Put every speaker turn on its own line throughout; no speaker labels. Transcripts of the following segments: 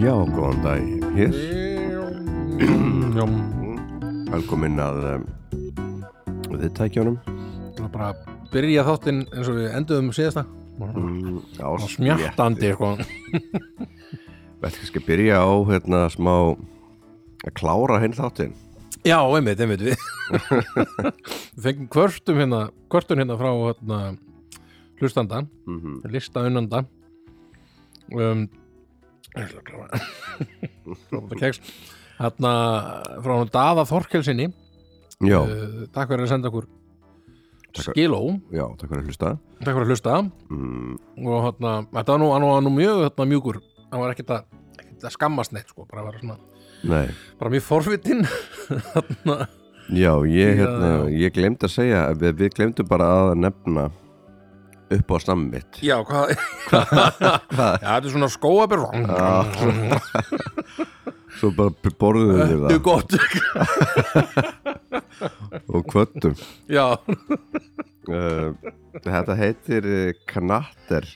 Já, góðan dag hér
Já,
Velkomin að um, þið tækjónum
það er bara að byrja þáttinn eins og við enduðum síðasta
mm, Já,
Svona smjattandi sko.
Þetta skal byrja á hérna smá að klára hinn þáttinn
Já, einmitt, einmitt við Við fengum kvörtum hérna kvörtun hérna frá hérna, hlustanda,
mm
lista unnanda um, ég ætla að klára. Róta kex. Hérna frá hann Daða Þorkelsinni
Já,
uh, Takk fyrir að senda okkur
Takk-
skiló,
já, takk fyrir að hlusta
takk fyrir að hlusta
mm,
og hérna, þetta var nú, hann var nú mjög hérna, mjúkur, hann var ekkert að, ekkert að skammast neitt sko, bara, var svona,
Nei,
bara mjög forvitin hérna,
já, ég hérna
Já.
ég glemd að segja, við, við glemdum bara að nefna upp á stammi mitt
já, hvað já, þetta er svona skóabir þetta
Svo bara b- borðum við
er
það
gott
og kvöttum
já,
uh, Þetta heitir eh, knatter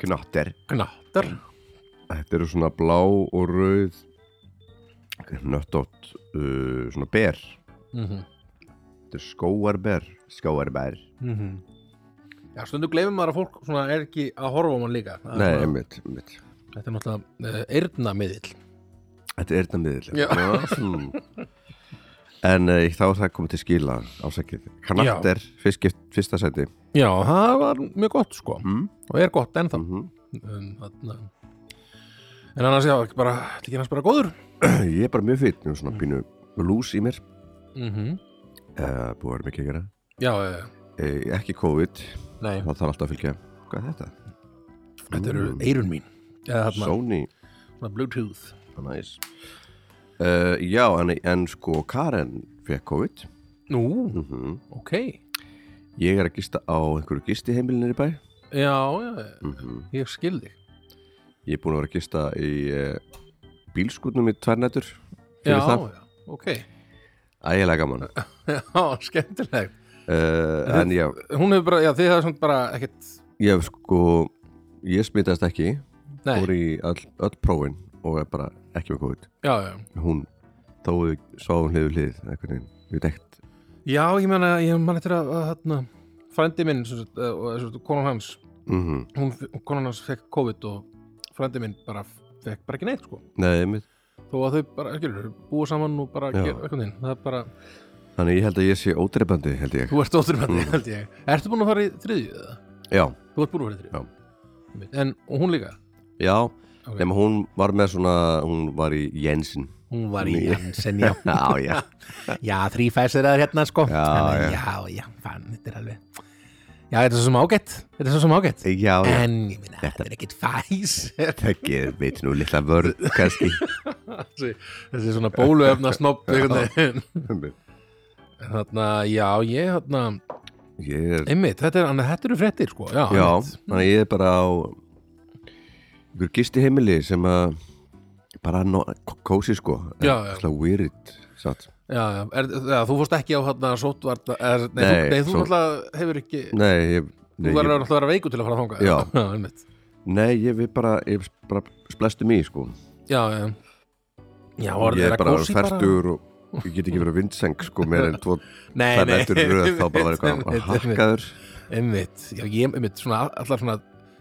Knatter
knattar
Þetta eru svona blá og rauð nöttótt uh, svona ber
mhm,
Þetta er skóarber Skóarber
mhm Já, stundu gleifum maður að fólk svona er ekki að horfa á mann líka Það er
Nei,
svona-
einmitt, einmitt.
Þetta er náttúrulega uh, eyrna miðill
Þetta er þetta miðil
Já.
En uh, þá er það komið til skila ásækið Knatter, fyrst, skipt- fyrsta sæti
Já, það var mjög gott sko
mm?
og er gott ennþá
Mm
um, þarna. En annars, já, bara, þetta er ekki bara góður
Ég er bara mjög fýtt með svona pínu lús í mér
mhm
uh, Búið að vera mikið að gera
Já, já, já.
uh, Ekki COVID,
nei,
það þarf alltaf að fylgja Hvað er þetta?
þetta eru eirun mín Eða þarna,
Sony
svona Bluetooth
Næs uh, Já, en, en sko Karen fekk COVID
Nú,
mm
ok
Ég er að gista á einhverju gistiheimilinir í bæ
Já, já,
mm
ég skil þig
Ég er búin að vera að gista í uh, bílskutnum í tværnættur
Já,
fyrir það,
já, ok
ægilega gaman
Já, skemmtileg
uh, En já,
Hún hefur bara, já, þið hefur svona bara ekkert
ég hef sko ég smitaðist ekki,
Nei,
fór í all, öll prófin og er bara ekki með COVID
já, já
Hún, þó við sáum hliðu hlið einhvern veginn, við dekt
Já, ég meina, ég man eftir að, að þarna Frændi minn, sem sagt, eh, og sem sagt, konan hans
mm
hún, Konan hans fekk COVID og frændi minn bara fekk bara ekki neitt, sko
Nei, einmitt
Þó að þau bara, skilur, búa saman og bara
Já.
gera eitthvað þinn Það er bara,
Þannig ég held að ég sé ódreifandi, held ég
þú ert ótrúmandi,
Mhm.
held ég Ertu búin að fara í þriðju eða?
Já,
Þú ert búin að vera í þrjú En og hún líka
já
Ok.
Nefnum hún var með svona, hún var í Jensen
Hún var
í
Janssen, já
Já, já
Já, þrýfæsir er hérna, sko
Já,
Þannig, já, já, fann, þetta er alveg Já, þetta er svo sem ágætt Þetta er svo sem ágætt
Já, já
En, ég meina, þetta er ekkit fæs
Þekkið, veit nú, litla vörð, kannski
Þessi þessi svona bóluefna snopp Þannig,
Ég
já, ég, þannig
er,
Einmitt, þetta er, annað, þetta eru fréttir, sko Já,
já,
einmitt.
þannig að ég er bara á Ykkur gisti heimili sem að Bara no, kósi sko
Já, já.
Slá weird, satt
já, já, er, já Þú fórst ekki á, þannig, sótvarta er, Nei,
Nei,
þú, nei, þú
svo-
náttúrulega hefur ekki
Nei, ég,
Þú
nei,
verður
ég,
náttúrulega að vera veiku til að fara þangað
Já.
já einmitt
nei, ég við bara, ég bara splestum í sko
Já, já Já, var
Ég
þetta
er bara
kósí
færtur og ég get ekki verið vinseng sko meir en tvo
Nei,
Það er
nei
nættur röð, þá bara verður eitthvað
einmitt,
harkaður
einmitt, Einmitt, já, ég, einmitt, svona allar svona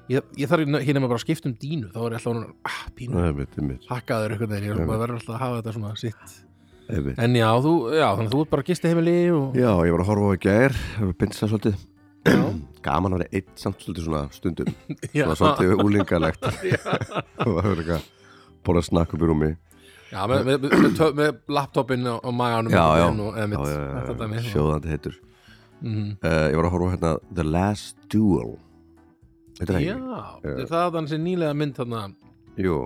Ég, ég þarf hérna hérna bara að skipta um dínu Þá er ég alltaf hún, ah, pínu
Nei, einmitt, einmitt,
Hakkaður eitthvað þegar, ég er bara verður alltaf að hafa þetta svona sitt
einmitt.
En já, þú, já, þannig að þú ert bara að gista heimili og
Já, ég var að horfa á í gær, það var pinsað svolítið
Já,
Gaman að vera einn samt svolítið svona stundum
já,
Svona svolítið úlingalegt Það var eitthvað Bóra að snakka upp í rúmi
já með, með, með, tö- með laptopin og, og maganum
Já, já.
og, einmitt,
Já, já, já,
þetta dæmi.
Sjóðandi heitur
Mhm.
uh, Ég var að horfa á hérna The Last Duel Þetta er
Já,
ekki
er það er þannig nýlega mynd þarna
Jú,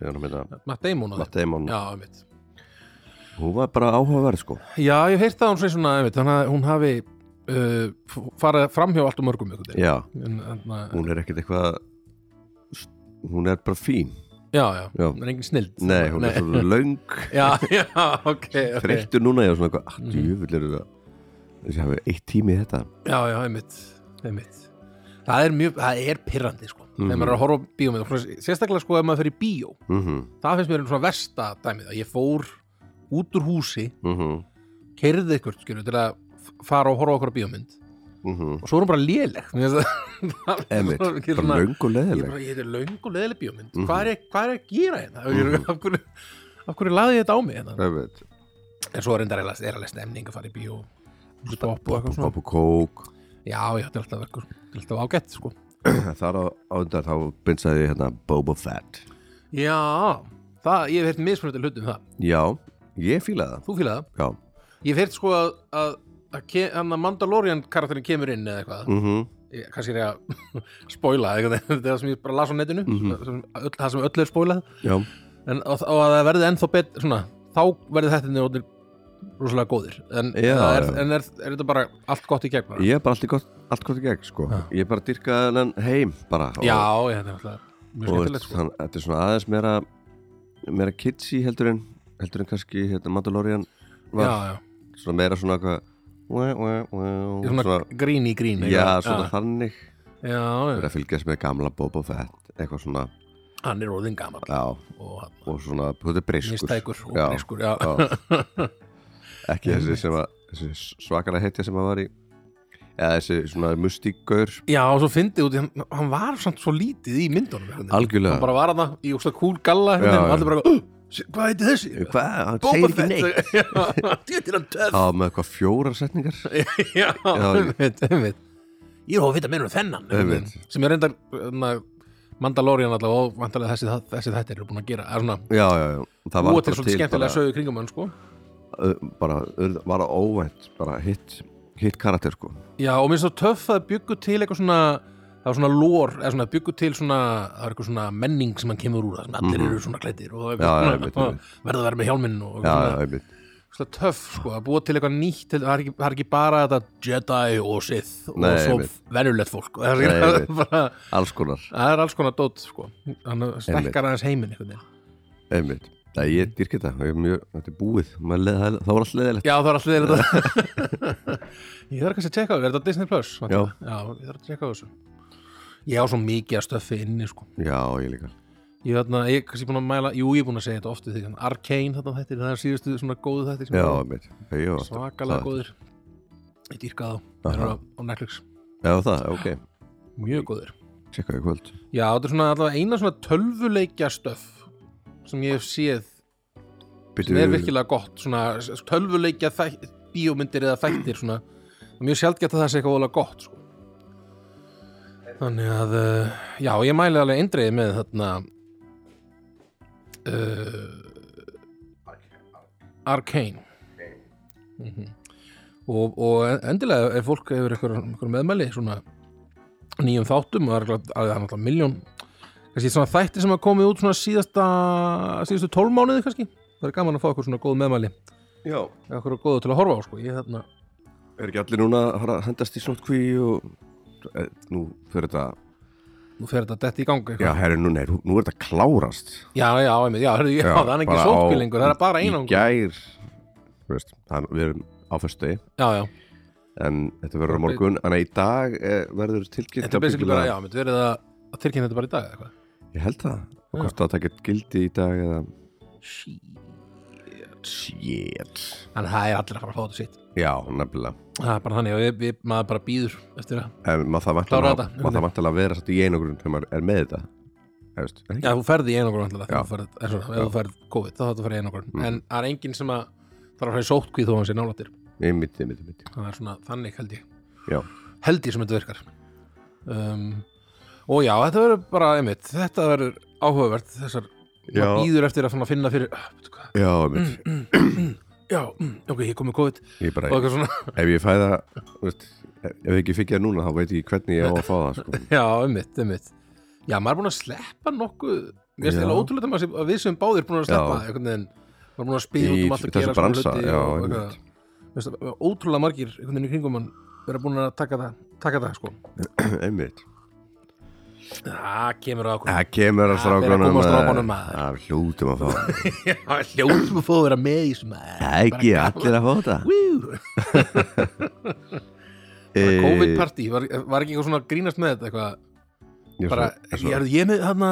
ég var að mynda
Matt Damon á þetta
Matt Damon,
Já, einmitt
hún var bara áhugaverð sko
Já, ég hef heyrt það að hún sé svona einmitt, þannig að hún hafi uh, f- farið framhjá allt og mörgum ykkur
Já,
en, en, uh, en,
hún er ekkert eitthvað Hún er bara fín
Já, já,
Já.
hún er engin snild
Nei, hún er svona löng
Já, já, ok, Mhm. okay.
þreyttur núna ég var svona eitthvað "Ah, að djöfull eru það þessi hafi eitt tími í þetta
Já, já, einmitt, einmitt það er mjög, það er pirrandi sko þegar maður er að horfa á bíómið sérstaklega sko ef maður fyrir bíó
mhm,
það finnst mér um svona versta dæmið að ég fór út úr húsi
mhm,
keirði ykkur skilur til að f- fara og horfa okkur á bíómynd
mhm
og svo er hún bara léleg Mér finnst það- það er
Emmett,
svona- ekki
bara
svona-
löng og
ég
leðileg
bara, ég er löng og leðileg bíómynd hvað, er, ég- hvað er að gera hérna mm. af hverju, af hverju laði ég þetta á mig hérna
Emmett,
en svo reyndar er alveg, er alveg stemning að fara í bíó stopp og eitthvað svona
popp og kók
já, já, þetta er alltaf, eitthvað- þetta er alltaf ágætt sko.
þar á ándan þá bynsaði ég hérna Boba Fett
já, það, ég hef hert mismunandi hluti um það
já, ég fílaði
þú fílaði það,
það já,
ég hef hert sko að, að, að ke, hann að Mandalorian karakterin kemur inn eða eitthvað
mhm,
ég, kannski er ég að spoila eitthvað, þetta er það sem ég bara las á netinu sem, öll, það sem öll er spoilað
já
en, og, og að það verði ennþá bet svona, þá verði þetta orðnir rosalega góðir en,
Já,
það er,
já.
en er, er þetta bara allt gott í gegn bara?
ég er bara allt í gott, allt gott í gegn sko
Já.
ég bara dyrkaði hennan heim bara og,
já, ég, þetta er alltaf mjög
og
skemmtilegt sko.
þann, þetta er svona aðeins meira meira kitsi heldur en heldur en kannski hérna Mandalorian
já,
var
já,
svona meira svona eitthvað wæ, wæ, wæ,
Ég er svona grín í grín
já,
eitthvað.
svona þannig
já, já,
verið að fylgjast með gamla Boba Fett eitthvað svona,
hann er orðin gammal
já,
og hann
og svona þetta er briskur
mistækur og
Já.
briskur já,
Já. ekki þessi sem að þessi svakara hetja sem að var í eða þessi svona mustíkaur
já og svo fyndið út í- hann, hann var samt svo lítið í myndunum einhvern veginn.
algjörlega
hann bara var hann í úrslag kúl galla
Já,
já,
já.
og allir bara, "Ugh, sé- hvað heiti þessi?
hvað, hann
Boba
segir ekki neitt
Fett." Já, djöfull er hann töff.
það var með eitthvað fjórar setningar
já,
Já, ég-
einmitt, einmitt Ég er hóf að vita meira um þennan
Einmitt.
sem ég reyndar na, Mandalorian allavega og vantarlega þessi, þa- þessi þetta eru búin að gera er svona
já, já, já, það var
búa til svolítið skemmtilega
bara,
sögu kringum hann sko
uh, bara uh, var það óvænt, bara hitt hitt karakter sko
Já, og mér finnst það töff að byggu til eitthvað svona það var svona lór, eða svona byggu til svona það er eitthvað svona menning sem hann kemur úr það sem allir eru svona klættir og
Mhm. Já, já,
eitthvað
einmitt,
svona,
einmitt.
verða að vera með hjálminn og
já,
eitthvað
já, einmitt,
svona töff sko, að búa til eitthvað nýtt til, það, er ekki, það er ekki bara þetta Jedi og Sith og
Nei,
svo
einmitt.
venjulegt fólk og það
Nei,
er
einmitt.
bara
alls konar
Það er alls konar dót sko Hann stekkar aðeins heiminn einhvern veginn
einmitt, það ég dyrk þetta ég er mjög, þetta er búið, Maður leið, það það var allt leðilegt
Já það er alltaf þetta Ég þarf kannski að tjekka á þessu, er þetta á Disney Plus?
Já.
Já, ég þarf að tjekka á þessu Ég á svo mikið að stöffi inni sko
já, ég líka
Ég er ég er kannski búin að mæla, jú ég er búin að segja þetta oft við þig en Arcane þarna þetta, það er síðustu svona góðu þetta sem
já,
eru
einmitt, ég var
svakalega
það-
góðir Ég dýrka þá,
Aha.
það eru á á Netflix
já, það, ok,
Mjög góðir
tjekka í kvöld
Já, þetta er svona allavega eina svona tölvuleikja stöff sem ég hef séð sem er virkilega gott svona s- tölvuleikja þætt, bíómyndir eða þættir svona og mjög sjaldgætt að það sé eitthvað vola gott sko. þannig að uh, já, ég mæli alveg eindreið með þarna uh, Arcane mm og, og endilega ef fólk hefur eitthvað, eitthvað meðmæli svona nýjum þáttum og það er náttúrulega- það er náttúrulega miljón kannski svona þættir sem hafa komið út svona síðasta síðustu tólmánuði kannski það er gaman að fá okkur svona góð meðmæli
já,
okkur góðu til að horfa á sko ég þarna
er ekki allir núna að fara að hendast í snotkví og Eh, nú fyrir þetta
nú fer þetta dett í gangi
já, herri, nú, nei, nú er þetta klárast
já, já, einmitt, já, hörðu, já, það er ekki
bara á-
sótkvílingur það er bara
í
einangur
gær, þú veist, það, við erum á föstu
já, já,
en þetta verður á morgun en í dag eh, verður tilkynnt
þetta er basically bara, já, mitt verið að að tilkynna þetta bara í dag eða eitthvað
já ég held það, og hvort það tekja gildi í dag eða shit
en það er allir að fara að fá þetta sitt
já, nefnilega
það er bara þannig og við, við, maður bara býður eftir að
en maður það
Klára
vantilega
þetta.
maður það vantilega að vera satt í einogrun þegar maður er með þetta eða veist, er
já,
ekki?
þú ferði í einangur náttúrulega
Já. Mm.
þegar þú ferð- eins og ef þú ferð COVID þá þetta ferði í einangur en það er enginn sem að þarf að fara í sótkvíð þó hann sé nálættir
einmitt, einmitt, einmitt
það er svona þannig held ég
já,
held ég sem þetta virkar um, og já, þetta verður bara einmitt, þetta verður áhugavert þessar,
Já.
maður býður eftir að svona finna fyrir "Ah, veitu hvað,
já, einmitt
já, mm, ok, ég kom með COVID Mm, og
ég bara,
eitthvað svona,
ef ég fæ það þú veist, ef ef ég ekki fikk það núna þá veit ég ekki hvernig ég á að fá það sko.
já, einmitt, einmitt já, maður er búin að sleppa nokkuð mér
Já.
finnst þetta ótrúlega að, maður sé- að við sem báðir búin að sleppa
Já.
einhvern veginn, maður er búin að spila
Í
út um allt að
þessu
gera
bransa,
svona hluti
já,
og
einmitt.
eitthvað. Mér finnst það- ótrúlega margir einhvern veginn í kringum hann vera búin að taka það, taka það sko.
einmitt
það kemur að okkur
það kemur að
Það fer að
strákunum
koma að
maður.
strákunum, maður.
það er hljótum að fá það
Já, hljóðum að fá að vera með í sem
Það er ekki allir að fá þetta
Woo! Bara
Eh,
COVID-party, var, var ekki eitthvað svona að grínast með þetta eitthvað
ég
bara,
er
ég er ég er með hann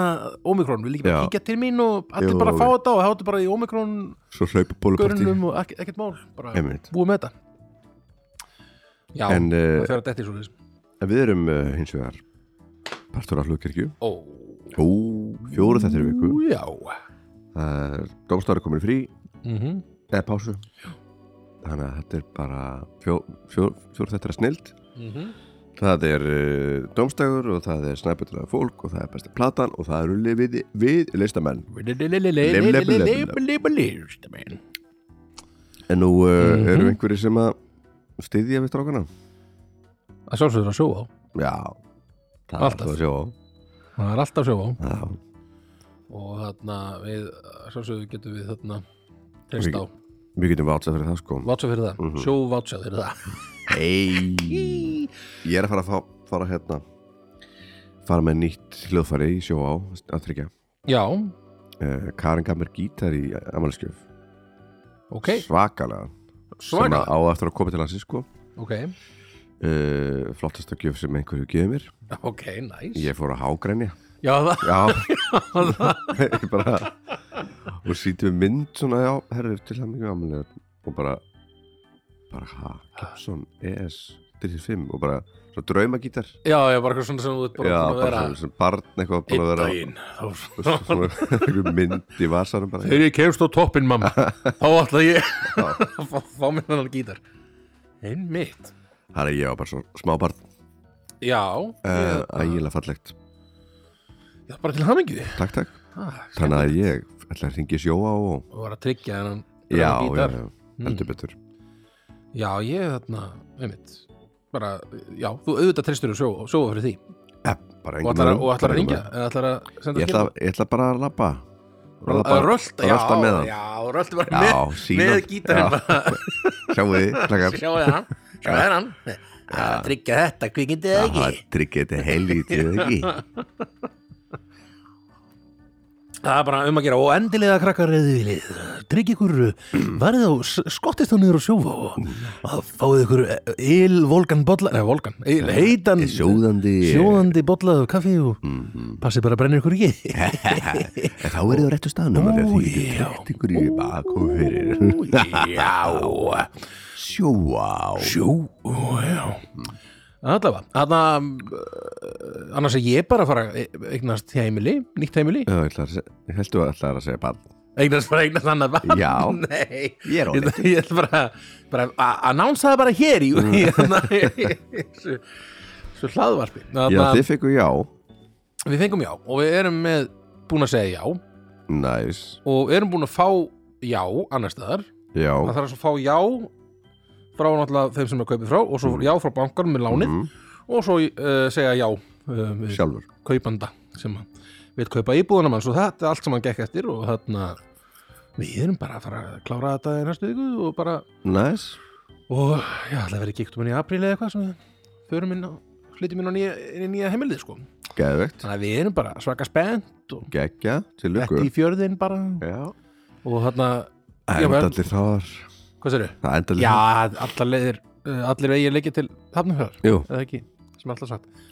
Omikron, vil ekki bara
Já.
kíkja til mín og allir
Jú,
bara fá
jú.
þetta og hátu bara í Omikron
svo, svo hlaupabólupartí
görunum og ekk- ekkert mál, bara
Einmitt.
búið með þetta Já,
en
það
uh,
fyrir að detti svo þess
við erum uh, hins vegar partur af hlugkirkju
Ó,
Ó, fjóru þetta er viku
já
uh, Dómstári komin í frí
mm
eða pásu þannig að þetta er bara fjóru fjó, fjó, þetta er snild
Mhm.
það er uh, dómstagur og það er snæpöldulega fólk og það er besta platan og það eru við, við listamenn en nú uh,
Mhm.
eru einhverjir sem að styðja við strákana
Það sjálfsögur að sjóa á
já, það er
Alltaf.
alltaf að sjá á.
Það er alltaf sjóa á
já,
og þarna við að sjálfsögur getum við þarna treyst á,
Mikið. við getum vátsað fyrir það sko
vátsa fyrir það,
Mhm.
sjó vátsa fyrir það
hei Ég er að fara að fá, fara hérna fara með nýtt hljóðfæri í sjó á að tryggja
Já,
uh, Karin gaf mér gítar í Amalskjöf
ok,
svakalega sem
svaka
að á eftir að koma til hans sko.
Ok,
uh, flottasta gjöf sem einhverju gefið mér
ok, næs
ég fór að hágrænja
Já, það,
já Ég bara, og sýndi við mynd svona já, herru til það mikið Amalskjöf og bara bara ha, Gibson ES 35 og bara svo draumagítar
já, já, bara eitthvað svona sem þú ert bara
já,
búin að
bara
vera
svona sem barn eitthvað búin að
einn
vera
daginn Þá-
svona einhver mynd í vasanum bara
Þegar ég kemst á toppin, mamma þá ætla ég
Já.
að fá- fá mér þennan gítar Einmitt
það er ég var bara svo smábarn
Já,
uh,
ég,
ægilega fallegt
já bara til hamingju
takk takk
ah,
þannig að ég ætla að ringi sjóa og
og var að tryggja hennan
já,
þennan
já,
gítar. Hmm.
já, heldur betur
já, ég þarna, einmitt bara, já, þú auðvitað treystur að sjóa, sjóa fyrir því
ja, bara
og
engin
ætlar, að-
öðrum,
og ætlar
bara
að
engin
ringja eða ætlar að senda
öðrum. ég ætla, ég ætla bara að labba Að labba-
að rölda, já,
rölta með hann
já, rölda bara
já,
með,
sínar
með gítarinn bara.
sjáu þið, klakkar
sjáu hann, sjáu hann að tryggja þetta, kvikindi eða
það
ekki
tryggir þetta helvítið eða ekki
það er bara um að gera og endilega krakkar eða þið viljið tryggja ykkur, varðið á skottist á niður og sjófa og að fáið ykkur ylvolgan bolla neða, volgan, il,
Eh,
heitan
sjóðandi Mhm.
sjóðandi bolla af kaffi og
Mm.
passið bara að brenna ykkur ekki
En þá er þið á réttu staðnum
Ó,
þegar þið getur
já.
trett ykkur í bakum fyrir
já
sjóa
Sjó, já Allavega, þarna uh, annars er ég bara að fara að e- eignast heimili, nýtt heimili
Já, ég ætla að segja, ég held að ætla að segja barn
eignast bara eignast annað barn
Já.
Nei,
Ég er á
ég, ætla- ég ætla bara, bara að annánsa það bara hér í í- þarna- í- svo, svo hlaðvarpi
Já,
þarna,
þið fekku já
Við fengum já og við erum með búin að segja já
Næs,
og erum búin að fá já annars staðar
já
það þarf að fá já frá náttúrulega þeim sem er kaupið frá og svo já frá bankarum með lánið
Mhm,
og svo uh, segja já uh, við
Sjálfur
kaupanda sem vil kaupa íbúðunum hans og þetta er allt sem hann gekk eftir og þarna við erum bara að fara að klára þetta í næstu viku og bara
Næs,
og já, það verið gíktum inn í apríli eða eitthvað sem við förum inn á flytjum inn á nýja, inn í nýja heimilið sko
geðvegt,
þannig að við erum bara svaka spennt og
geggja, til
þetta
lukku
í fjörðin bara
Já,
og þarna, Já,
enda
vel.
allir þar
hvað serðu?
Það enda allir
Já, allar leiðir uh, allir vegið leikið til hafnumhjör
Jú,
eða ekki, sem er alltaf sagt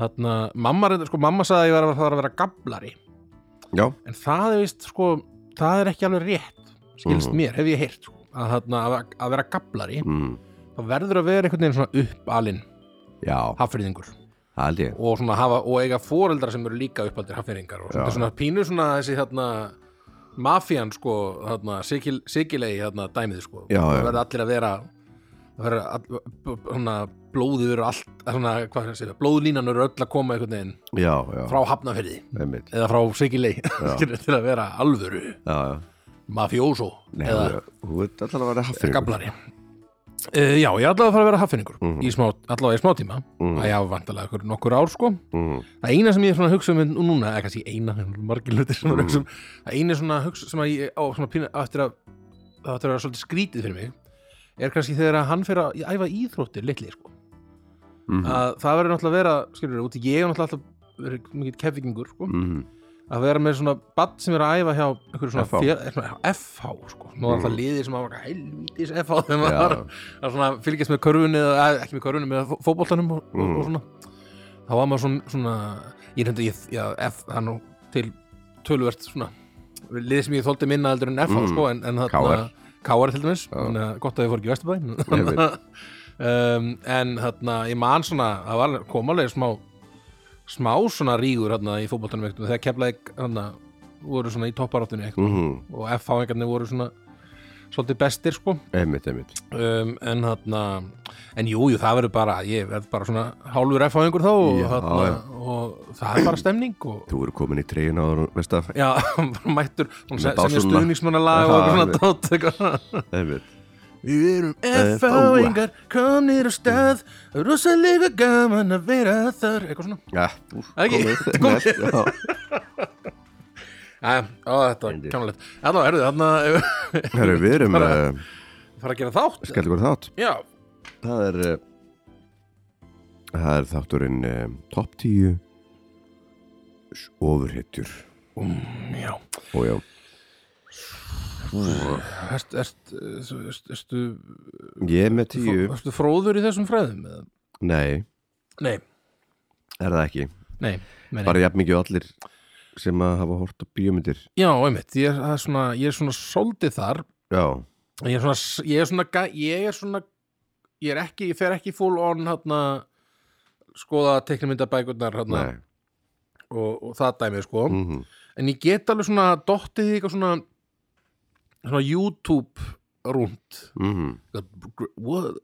þarna, mamma, reyndar- sko, mamma sagði að ég var að fara að vera gablari
já,
en það er vist sko, það er ekki alveg rétt skilst
Mhm.
mér, hef ég heyrt sko, að, þarna, að, að vera gablari
mm,
þá verður að vera einhvern veginn svona uppalinn
já,
haffyrðingur
það held ég
og, svona hafa, og eiga foreldrar sem eru líka uppaldir haffyrðingar og svona,
Já.
svona pínu svona þessi þarna mafían sko, þarna, sikil, sikilegi þarna dæmið sko,
Já,
það
já.
verður allir að vera það verður all, b- b- svona blóðið verður allt svona, hvað er að segja, blóðlínan eru öll að koma einhvern veginn
Já, já,
frá hafnafyrði
einmitt
eða frá sikilegi til að vera alvöru
Já, já,
mafjóso
nei,
eða
já, þú veit alltaf að vera haffir
gablari uh, Já, ég ætlaði að fara að vera haffinningur
Mhm.
í smá, allavega í smá tíma
Mhm.
að ég hafa vantalega ykkur nokkur ár sko
mm,
Það eina sem ég er svona að hugsa um núna eða kannski eina, það eru margir hlutir sem mm. hugsa um það eina svona hugsa sem að ég á svona pína eftir að það ættir að vera svolítið skrítið fyrir mig er kannski þegar að hann fer að æfa íþróttir litli sko
mm,
að það verður náttúrulega að vera skilur, út í ég er náttúrulega alltaf verið mikill kefingur sko
mm,
að vera með svona badd sem er að æfa hjá einhverju svona
FH.
fél- svona FH sko. nú var
Mm.
það liðið sem að var helvítis FH þegar maður var
já,
að svona fylgjast með körfunni eða eh, ekki með körfunni, með fó- fótboltanum og,
Mm.
og svona þá var maður svona, svona ég reyndi, ég, já, F, það er nú til tölvert svona lið sem ég þóldi minna heldur en FH
Mm.
sko, en, en
KR.
Káar til dæmis,
Já.
þannig að gott að ég fór ekki í
Ég
Vesturbæn um, en þarna, ég man svona það var komalega smá smá svona rígur þarna í fótboltanum einhvern veginn, þegar keflaði þarna voru svona í topparáttunni eitthvað
mhm,
og FH-ingarnir voru svona svolítið bestir sko
einmitt, einmitt
um, en þarna en jú, jú, það verður bara ég verður bara svona hálfur F-fáingur þá og,
Já,
þarna,
já.
og það er bara stemning og
Þú eru komin í treyjun áður, veist það
já, bara mættur hún
Með
sem er
básúnuna.
stuðningsmannalag og
Já,
eitthvað svona dót eitthvað.
Einmitt,
við
Eh,
erum F-fáingar komnir á stað rosalega gaman að vera þar eitthvað svona
já, þú
Ekki,
komið Já,
Æ, á, þetta var
Fyndið.
kjánulegt allavega, herðu, þarna ef við
herru, við erum
Bara-
uh,
fara að gera þátt
Skellir góður þátt
já,
Það er uh, Það er þátturinn uh, Top 10 Ofurhetjur
um, já
Og já,
erst, erst, erst, erst, erst,
ég er með 10
erst fróður í þessum fræðum eða?
Nei,
nei,
er það ekki
Nei, nei, nei.
Bara jafn mikið og allir sem að hafa hort á bíómyndir
Já, einmitt, ég er, það er svona, ég er svona soldið þar
Já,
ég er svona, ég er svona, ga- ég er svona ég er ekki, ég fer ekki full on hana, skoða teknimyndabækurnar hana,
nei
og, og það dæmið sko
mm
en ég get alveg svona dottið í eitthvað svona svona YouTube rúnd
-hmm.
the, gr- what,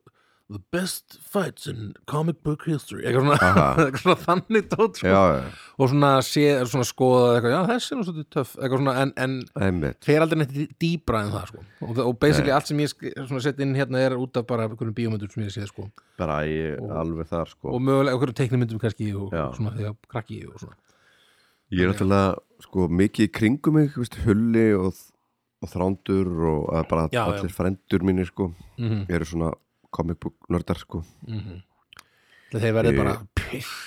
the best fights in comic book history eitthvað svona,
Aha.
eitthvað svona þannig tótt sko.
Já, já,
og svona, sé, svona skoða eitthvað, já þessi er nú svolítið töff eitthvað svona, en, en
einmitt
fer aldrei neitt dý- dýpra en það sko. og, og basically allt sem ég sk- svona sett inn hérna er út af bara einhverjum bíómyndum sem ég séð sko.
Bara ég alveg þar sko
og mögulega einhverjum teiknumyndum kannski og
Já.
svona þegar krakki og svona
Ég er alltaf sko mikið í kringum mig, þú veist, hulli og, og þrándur og að bara
Já, já.
allir frendur mínir sko
mm -hmm.
eru svona comic book nördar sko
þeir verði
Ég-
bara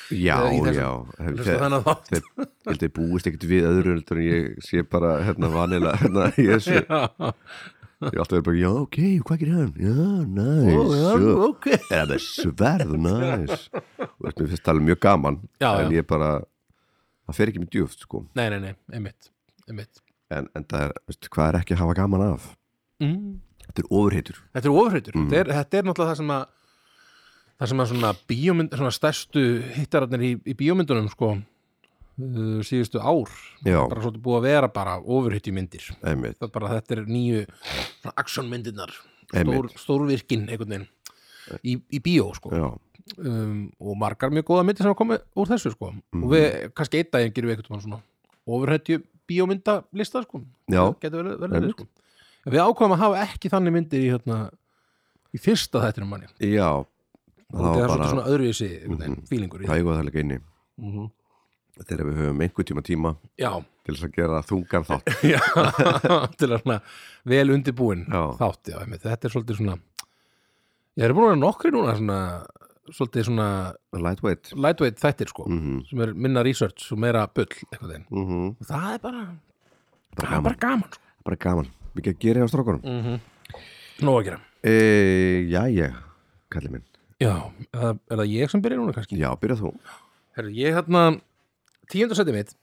Já,
Eða í þessu-
já hef-
hlusta
þeir-
þannig að þátt
þeir heldur búist ekkert við öðru heldur en ég sé bara hérna vanila hérna í þessu ég
Já.
er alltaf verið bara, já ok, hvað gerir hann? Já, næs,
Ó, já,
nice,
ok.
eða með sverð, næs og veist, mér finnst það alveg mjög gaman
Já,
en
já.
ég bara, það fer ekki með djúft sko
nei, nei, nei, einmitt, einmitt.
en, en það er, veist, hvað er ekki að hafa gaman af?
Mm.
Þetta er ofurheitur
þetta er ofurheitur þetta, er, þetta er náttúrulega það sem að það sem að svona bíómynd svona stærstu hittararnir í, í bíómyndunum sko uh, síðustu ár
Já,
bara svolítið búið að vera bara ofurheitju myndir
einmitt
það er bara þetta er nýju svona actionmyndirnar stór,
Einmitt.
stórvirkin einhvern veginn í, í bíó sko
Já,
um, og margar mjög góða myndir sem hafa komið úr þessu sko og við,
Mhm.
kannski einn daginn gerum við einhvern veginn svona ofurhættju bíómyndalista sko
Já.
Það getur verið, verið
Einmitt.
verið sko En við ákvæðum að hafa ekki þannig myndir í hérna í fyrsta þættinum manni
já
og
var
það er
bara- Mhm.
svolítið svona Mhm. öðruvísi einhvern veginn, fílingur í
Það
það
er góð að það leika inni Þegar við höfum einhver tíma tíma
já,
til þess að gera þungan þátt
já til að svona vel undirbúin
Já.
þátt, já, einmitt. þetta er svolítið svona ég er búin að vera nokkri núna svona, svolítið svona
Lightweight
lightweight þættir sko
mm -hmm.
sem er minna research og meira bull einhvern veginn
Mm
Og það er bara,
Bara
það er
gaman,
bara gaman sko.
bara gaman Mikið að gera hjá strókunum mm.
Nó að gera
e, Jæja, kallið minn
Já, er það, er það ég sem byrja núna kannski?
Já, byrja þú
Herru, ég hérna tíundarsætti mitt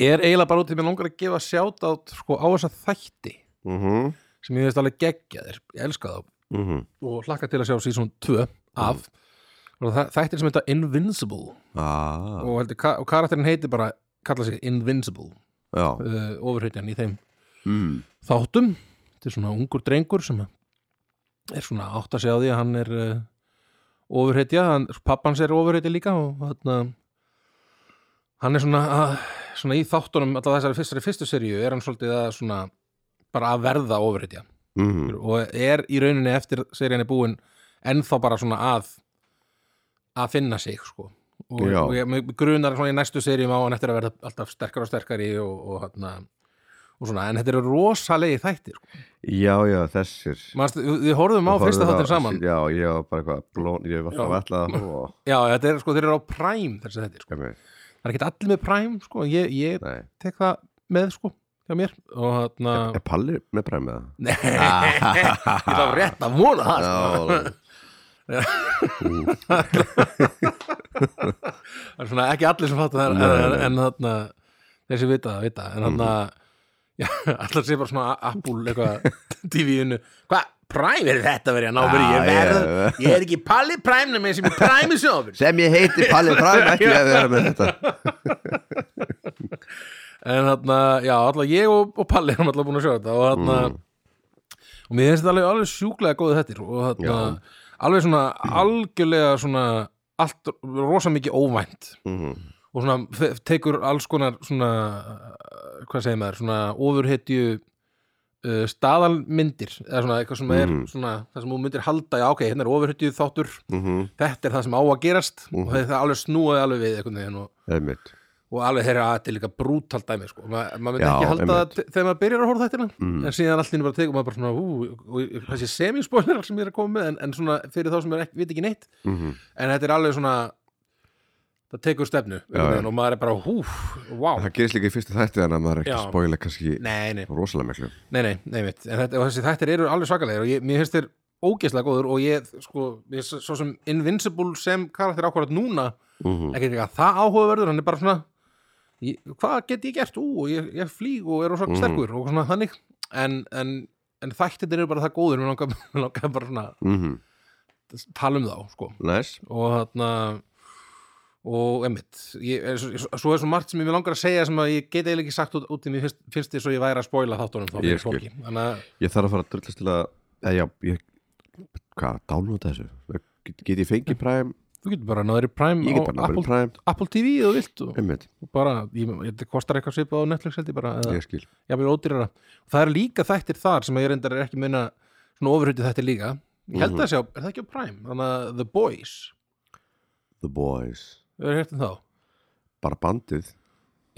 er eiginlega bara út í mér langar að gefa sjátt sko, á þessa þætti
mm -hmm.
sem ég veist alveg geggja þér, ég elska þá
Mm -hmm.
og hlakka til að sjá sísón 2 af og það, þættir sem heita Invincible
ah,
og, heldur, ka- og karakterin heiti bara kalla sig Invincible
Já
uh, ofurheitjan í þeim
mm.
þáttum þetta er svona ungur drengur sem er svona átt að segja á því að hann er uh, ofurheitja, hann, pappans er ofurheitja líka og þarna hann er svona, að, svona í þáttunum alltaf þessari fyrstari fyrstu seríu er hann svolítið að svona bara að verða ofurheitja
Mm
og er í rauninni eftir serían er búin ennþá bara svona að að finna sig sko og,
Já.
og ég, mig grunar svona í næstu seríum á hann eftir að verða alltaf sterkar og sterkari og, og, þarna, og svona, en þetta eru rosalegi þættir sko.
Já, já, þessir
Manst, við við horfðum á
Horfðu
fyrsta
það-
þáttin saman já.
Já, ég var bara eitthvað blón Ég var alltaf
Já.
alltaf að horfa á-
þetta er sko, þeir eru á Prime þessi þetta sko.
Einmitt.
það er ekki allir með Prime sko, en ég, ég
Nei.
tek það með sko, hjá mér og þarna
Er Palli með præm með það?
Nei, ég þá rétt að vona það sko.
Já,
Það er svona ekki allir sem fattar það
Nei, Mhm.
en,
nei.
en þarna þeir sem vita það, vita það. en þarna já, allar sé bara svona Apple eitthvað TV-inu hvað, Prime er þetta verið að ná verið ég,
Já,
verð,
já.
ég er ekki Palli Prime nema ég sem er Prime í sjófin
sem ég heiti Palli Præm ekki að vera með þetta
en þarna, já, alltaf ég og, og Palli erum alltaf búin að sjá þetta og þarna
Mm.
og mér finnst þetta alveg, alveg sjúklega góðu þettir og þarna, alveg svona algjörlega svona allt rosa mikið óvænt
Mhm.
og svona fe- tekur alls konar svona, uh, hvað segir maður svona ofurhetju uh, staðalmyndir eða svona eitthvað sem
Mhm.
er svona, það sem þú myndir halda já, ok, hérna er ofurhetju þáttur
Mhm.
þetta er það sem á að gerast
Mhm.
og þetta alveg snúaði alveg við einhvern veginn og
Einmitt.
og alveg þeirra að þetta er líka brútalt dæmi sko. Ma, maður myndi
Já,
ekki halda
einmitt.
það þegar maður byrjar að horfa þetta
Mm.
en síðan allir bara tegur maður bara svona ú, og þessi semi-spoilerar sem ég er að koma með en, en svona fyrir þá sem er ekki, veit ekki neitt
Mhm.
en þetta er alveg svona það tekur stefnu
Já, já.
já, og maður er bara húf, wow
Það gerist líka í fyrstu þætti þannig að maður er ekki
Já.
að spoila kannski
nei, nei,
rosalega miklu
nei, nei, nei mitt en þetta, og þessi þættir eru alveg svakalegir og ég, mér finnst þér ógeðslega góður og ég, sko, ég, s- svo sem Invincible sem karakter ákvarðat núna
Mhm.
ekki eitthvað það áhugaverður hann er bara svona ég, hvað get ég gert, ú, ég, ég flýg og er svona
Mhm.
sterkur og svona þannig en, en, en þættir eru bara það góður mér langar, mér langar bara svona
Mhm.
að tala um þá sko.
Næs
og þarna og emmitt svo er svo margt sem ég mér langar að segja sem að ég get eiginlega ekki sagt út, út í mér finnst, finnst því svo ég væri að spoila þáttunum þá
Ég
fyrir fólki þannig að
Ég þarf að fara að drullast til að eða já, ég hvað, dálnóta þessu get, get ég fengið Prime?
þú getur bara náður í Prime
Ég
á
get bara náður
Apple,
í Prime
Apple TV eða þú vilt og
Einmitt,
og bara, ég, ég, þetta kostar eitthvað svipað á Netflix held ég bara eða,
ég skil
jafnvel ódýrara og það eru líka þættir þar sem ég reyndar er ekki að minna svona ofurhutu þættir líka ég
Mhm.
held að það sjá, er það ekki á Prime þannig að The Boys,
The Boys
hefur hægt um þá
Bara bandið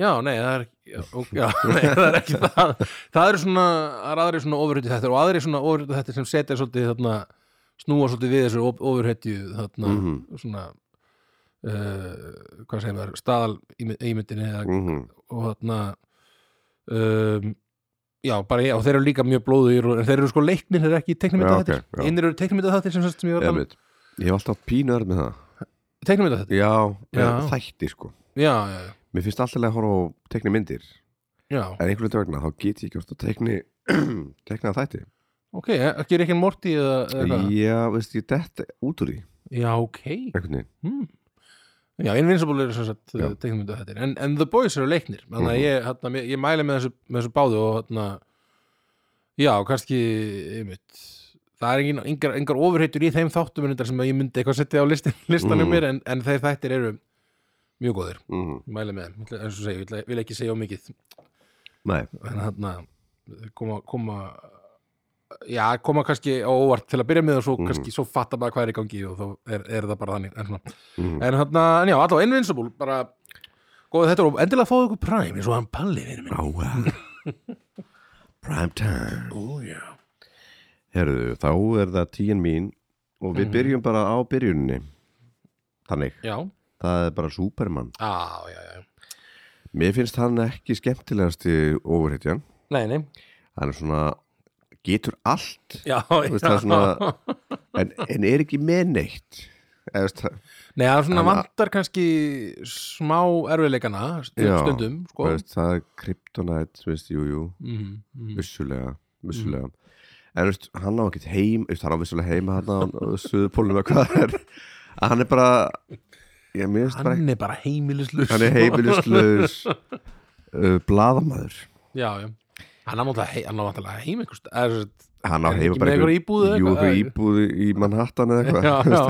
já, nei, það er já, ok, já, nei, það er ekki það það eru svona, það eru aðri svona ofurhutu þættir og aðri svona ofurhutu þættir sem setja svolítið þarna, snúa svolítið við þessu ofurhutu þarna,
Mhm.
svona uh, hvað segir maður, staðal ímyndinni eða
Mhm.
og þarna um, já, bara ég, og þeir eru líka mjög blóðugir og- en þeir eru sko leiknir, þeir eru ekki teiknumynda
Já,
þáttir
ok, já.
innir eru teiknumynda þáttir sem, sagt sem ég var að um.
Einmitt Ég hef alltaf pínuðar með það
teiknumynda þáttir,
Já,
Já.
eh, þætti sko
já, já, já,
Mér finnst alltaf að horfa á tekni myndir
já.
En einhvern veit vegna, þá get ég ekki oft að tekni tekna þætti
ok, ekki er ekki en morti eða, eða hvað?
Já, veist, ég dett út úr því
já, ok
einhvern veginn
hmm. já, Invincible eru sem sagt
Já. Mhm.
teiknumynda þáttir, en, en The Boys eru leiknir þannig að ég, þarna, ég, ég mæli með þessu, með þessu báðu og þarna já, kannski, einmitt Það er engin, engar, engar ofurheitur í þeim þáttum reyndar sem að ég myndi eitthvað setja á listin, listanum
Mhm.
mér en, en þeir þættir eru mjög góðir
mm.
Ég mæli með þeim, Ég ætla- eins og segja, ég ætla- vil ekki segja of mikið
Nei,
en þarna koma, koma já, koma kannski á óvart til að byrja með og svo
Mhm.
kannski, svo fattar maður hvað er í gangi og þá er, er það bara þannig en, svona.
Mhm.
en þarna, en já, allavega Invincible bara, góð þetta og endilega fáðu ykkur Prime eins og hann Palli verið minn
á uh, Prime time
Ó, já.
Herðu, þá er það tíin mín og
Mhm.
við byrjum bara á byrjuninni Þannig,
já,
það er bara Superman
á, já, já
Mér finnst hann ekki skemmtilegasti ofurhetjan
nei, nei,
Hann er svona, getur allt
já,
Þú veist,
já.
það er svona, en, en er ekki með neitt Eða, veist, það-
nei, það er svona
Hann-
vantar kannski smá erfiðleikana
Já,
stundum, sko
veist, það er kryptonite, veist, jú, jú
Mhm, mhm.
vissulega, vissulega.
Mm.
en veist, hann á ekkert heim veist, hann á vissulega heima hann á suðupólum eða hvað það er að hann er bara ég minnst bara ekki
hann er bara heimilislaus
hann er heimilislaus uh, bladamæður
Já, já. Hann á náttúrulega hei- hann á náttúrulega heim einhvers staðar,
hann á
Er
heima
ekki
bara
með einhverja íbúð eða
jú,
eitthvað?
einhver íbúð í Manhattan eða
eða
eitthvað
eitthvað.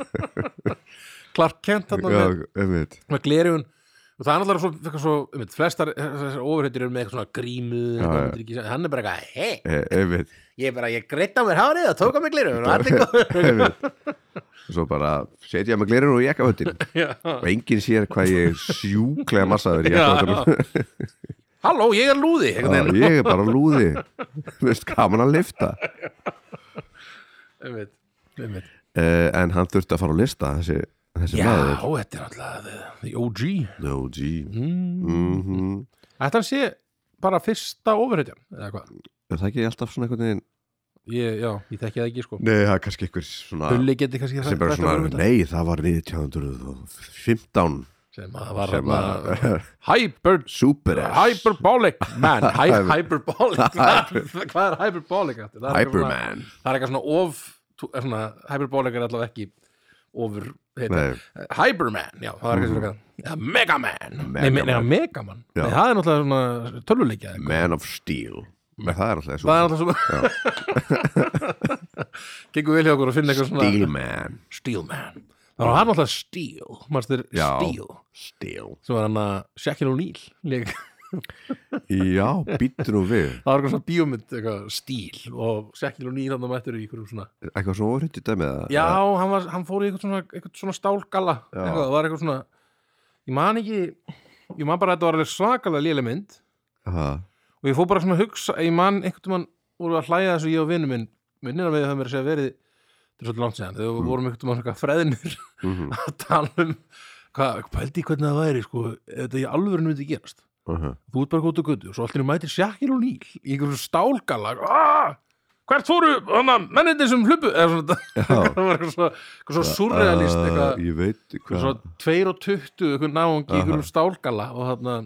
Já, já. Clark Kent þarna með,
já, einmitt
með glerjun og það er náttúrulega svo, eitthvað svo um, flestar þessar ofurhættir eru með eitthvað svona grímu eitthvað,
já.
myndir ekki segja- hann er bara eitthvað, hei,
Eh, einmitt,
ég er bara, ég greitt á mér hárið og tók á mér glerjun og allt eitthvað
einmitt svo bara setja með glerur og jakkaföttin og enginn sér hvað ég er sjúklega massaður í jakkaföttunum
Halló, ég er lúði einhvern
Já,
veginn.
ég er bara lúði veist, gaman að lifta
Einmitt, einmitt.
uh, en Eh, hann þurfti að fara á lista þessi, þessi
Já,
maður
þetta er náttúrulega eh, The OG
The OG
mm.
mm
Þetta hann sé bara fyrsta ofurhetjan eða hvað
Er það ekki alltaf svona einhvern veginn
ég, Já, ég þekki það ekki sko
Nei, það er kannski einhver svona
Hulli geti kannski
sem bara
þetta
svona,
ofurhetjan.
nei, það var 1915
sem að var
sem
að
var
Hyper
super
Hyperbolic man Hy
Hyper-
Hyperbolic Hvað er- hvað er hyperbolic? aftur? Það er eitthvað svona-
Hyperman
Það er eitthvað svona of tú- er svona, Hyperbolic er allavega ekki ofur heita.
Nei, Mhm.
Hyperman, já, það er eitthvað svona ja, Megaman, nei,
Megaman.
nei, nei, Megaman.
Já. Mm.
Nei, það er náttúrulega svona töluleikja eitthvað.
Man of Steel Men það er alltaf
Það er
svo
alltaf svona Gengur vel hjá okkur að finna eitthvað svona
Steelman
Steelman Það var hann alltaf Steel Marstur
Já.
Steel
Steel
sem var hann að Shaquille O'Neal leik.
Já, býttu nú við
Það var eitthvað svona bíómynd eitthvað Steel og Shaquille O'Neal hann mættur í einhverjum svona
Eitthvað svona óhrýttu dæmi eða-
Já, hann, var, hann fór í eitthvað svona, eitthvað svona stálgalla
Já.
eitthvað, það var eitthvað svona ég man ekki, ég man bara að þetta var alveg svakalega léle mynd
Ha,
og ég fór bara svona að hugsa, ég man einhvern tímann voru að hlæja þessu ég og vinnum minn vinnina við höfum verið að segja verið þetta er svolítið langt séðan, þegar við vorum einhvern tímann svona freðinir
mhm,
að tala um hvað, pældi í hvernig það væri sko, ef þetta í alvöru myndi gerast
mhm.
þú ert bara gótt og göttu og svo allir mætir sjakkir og nýl í einhverjum stálgalla Ah, hvert fóru hana, mennindi sem hlupu eða svona,
Já.
það var eitthvað svo, eitthvað svo surrealist
Ah,
eitthvað,
Ég veit
eitthvað
hvað
svo 2 og 20 eitthvað náungi í
Aha.
einhverjum stálgalla og þarna,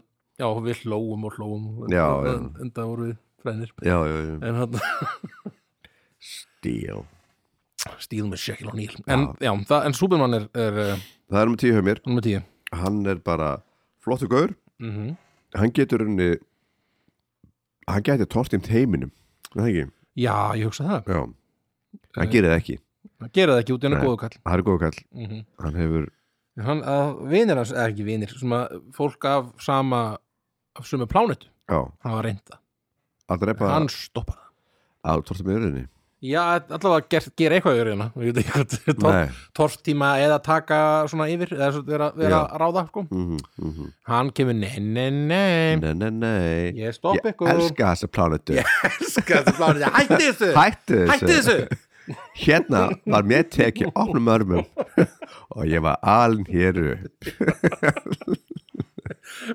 já við hlóum og hlóum og-
Já,
og-
já.
en, en það voru við frænir
Já, já, já
en þarna,
Steel
stíðum við sjakkir og nýl en, já, það, en Superman er, er uh,
Það er um tíu hjá mér
nummer 10
Hann er bara flottu gaur
mm
Hann getur henni Hann getur tortimt heiminum er Það ekki
já, ég hugsa það,
Já Hann gerir það ekki
gera það ekki út í hann
Nei.
góðu kall
Það er góð kall
mm -hmm.
Hann hefur
hann, að vinir hans, eða ekki vinir sem að fólk af sama af sömu plánetu,
Já
hann var reynda
Að drepa
hann stoppar það
Að tortum í öðrunni
já, allavega ger, ger eitthvað yfir hérna Ég veit ekki hvað þetta er, tor-
Nei
torftíma eða taka svona yfir eða svo vera, vera
Já.
að ráða sko.
Mhm, mhm.
hann kemur, nei, nei, nei
Nei, nei, nei
ég stopp
Ég
ykkur
elska þessa plánutu
elska þetta plánetu, hætti þessu
Hættu
hætti
þessu
þessu
Hérna var mér tekið opnum örmum Og ég var aln hér upp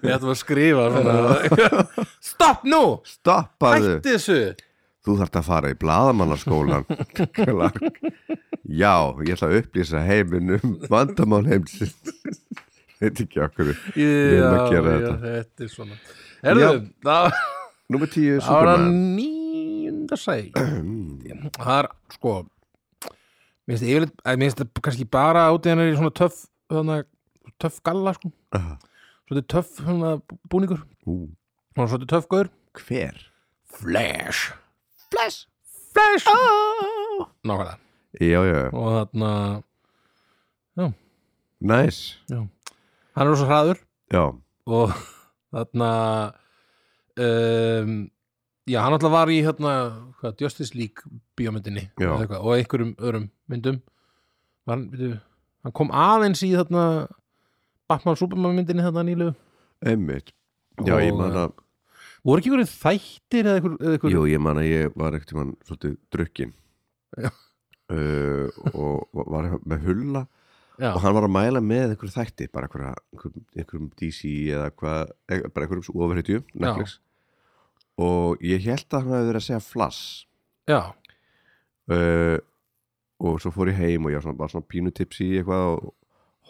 við ættum að skrifa svona, stopp nú,
Stoppaðu
hætti þessu
þú þarft að fara í bladamannaskólan Clark já, ég ætla að upplýsa heiminn um vandamál heimsins veit ekki okkur
já,
erum að gera
já,
þetta.
þetta er svona Herðu, það
nummer 10,
Það var
Superman
nýjunda sæti Það er sko Mér finnst yfirleitt að Mér finnst það kannski bara út í hann er í svona töff þannig, Töff galla sko
Ah,
Svona töff svona, búningur
ú,
Svona svona töff gaur
hver?
Flash
Flash
Flash oh. Nákvæmlega
já, já,
Og þarna
næs
Hann er rosa hraður
já,
Og þarna um, Já, hann alltaf var í hérna, hvað, Justice League bíómyndinni
Já.
eða eitthvað, og einhverjum öðrum myndum var, hann, veitum, hann kom aðeins í þarna Batman Superman myndinni þarna nýlu
einmitt já, ég man að,
voru ekki einhverjum þættir eða einhver, eða einhver
jú, ég man að ég var ekkert mann svolítið drukkin
Já.
Uh, og var með hulla
já,
og hann var að mæla með einhverju þætti bara einhverja- einhverjum, einhverjum DC eða hvað, eh, bara einhverjum svo ofurhetju Netflix og ég held að hann hefði verið að segja flass
já,
uh, og svo fór ég heim og ég var svona, bara svona pínu tipsi í eitthvað og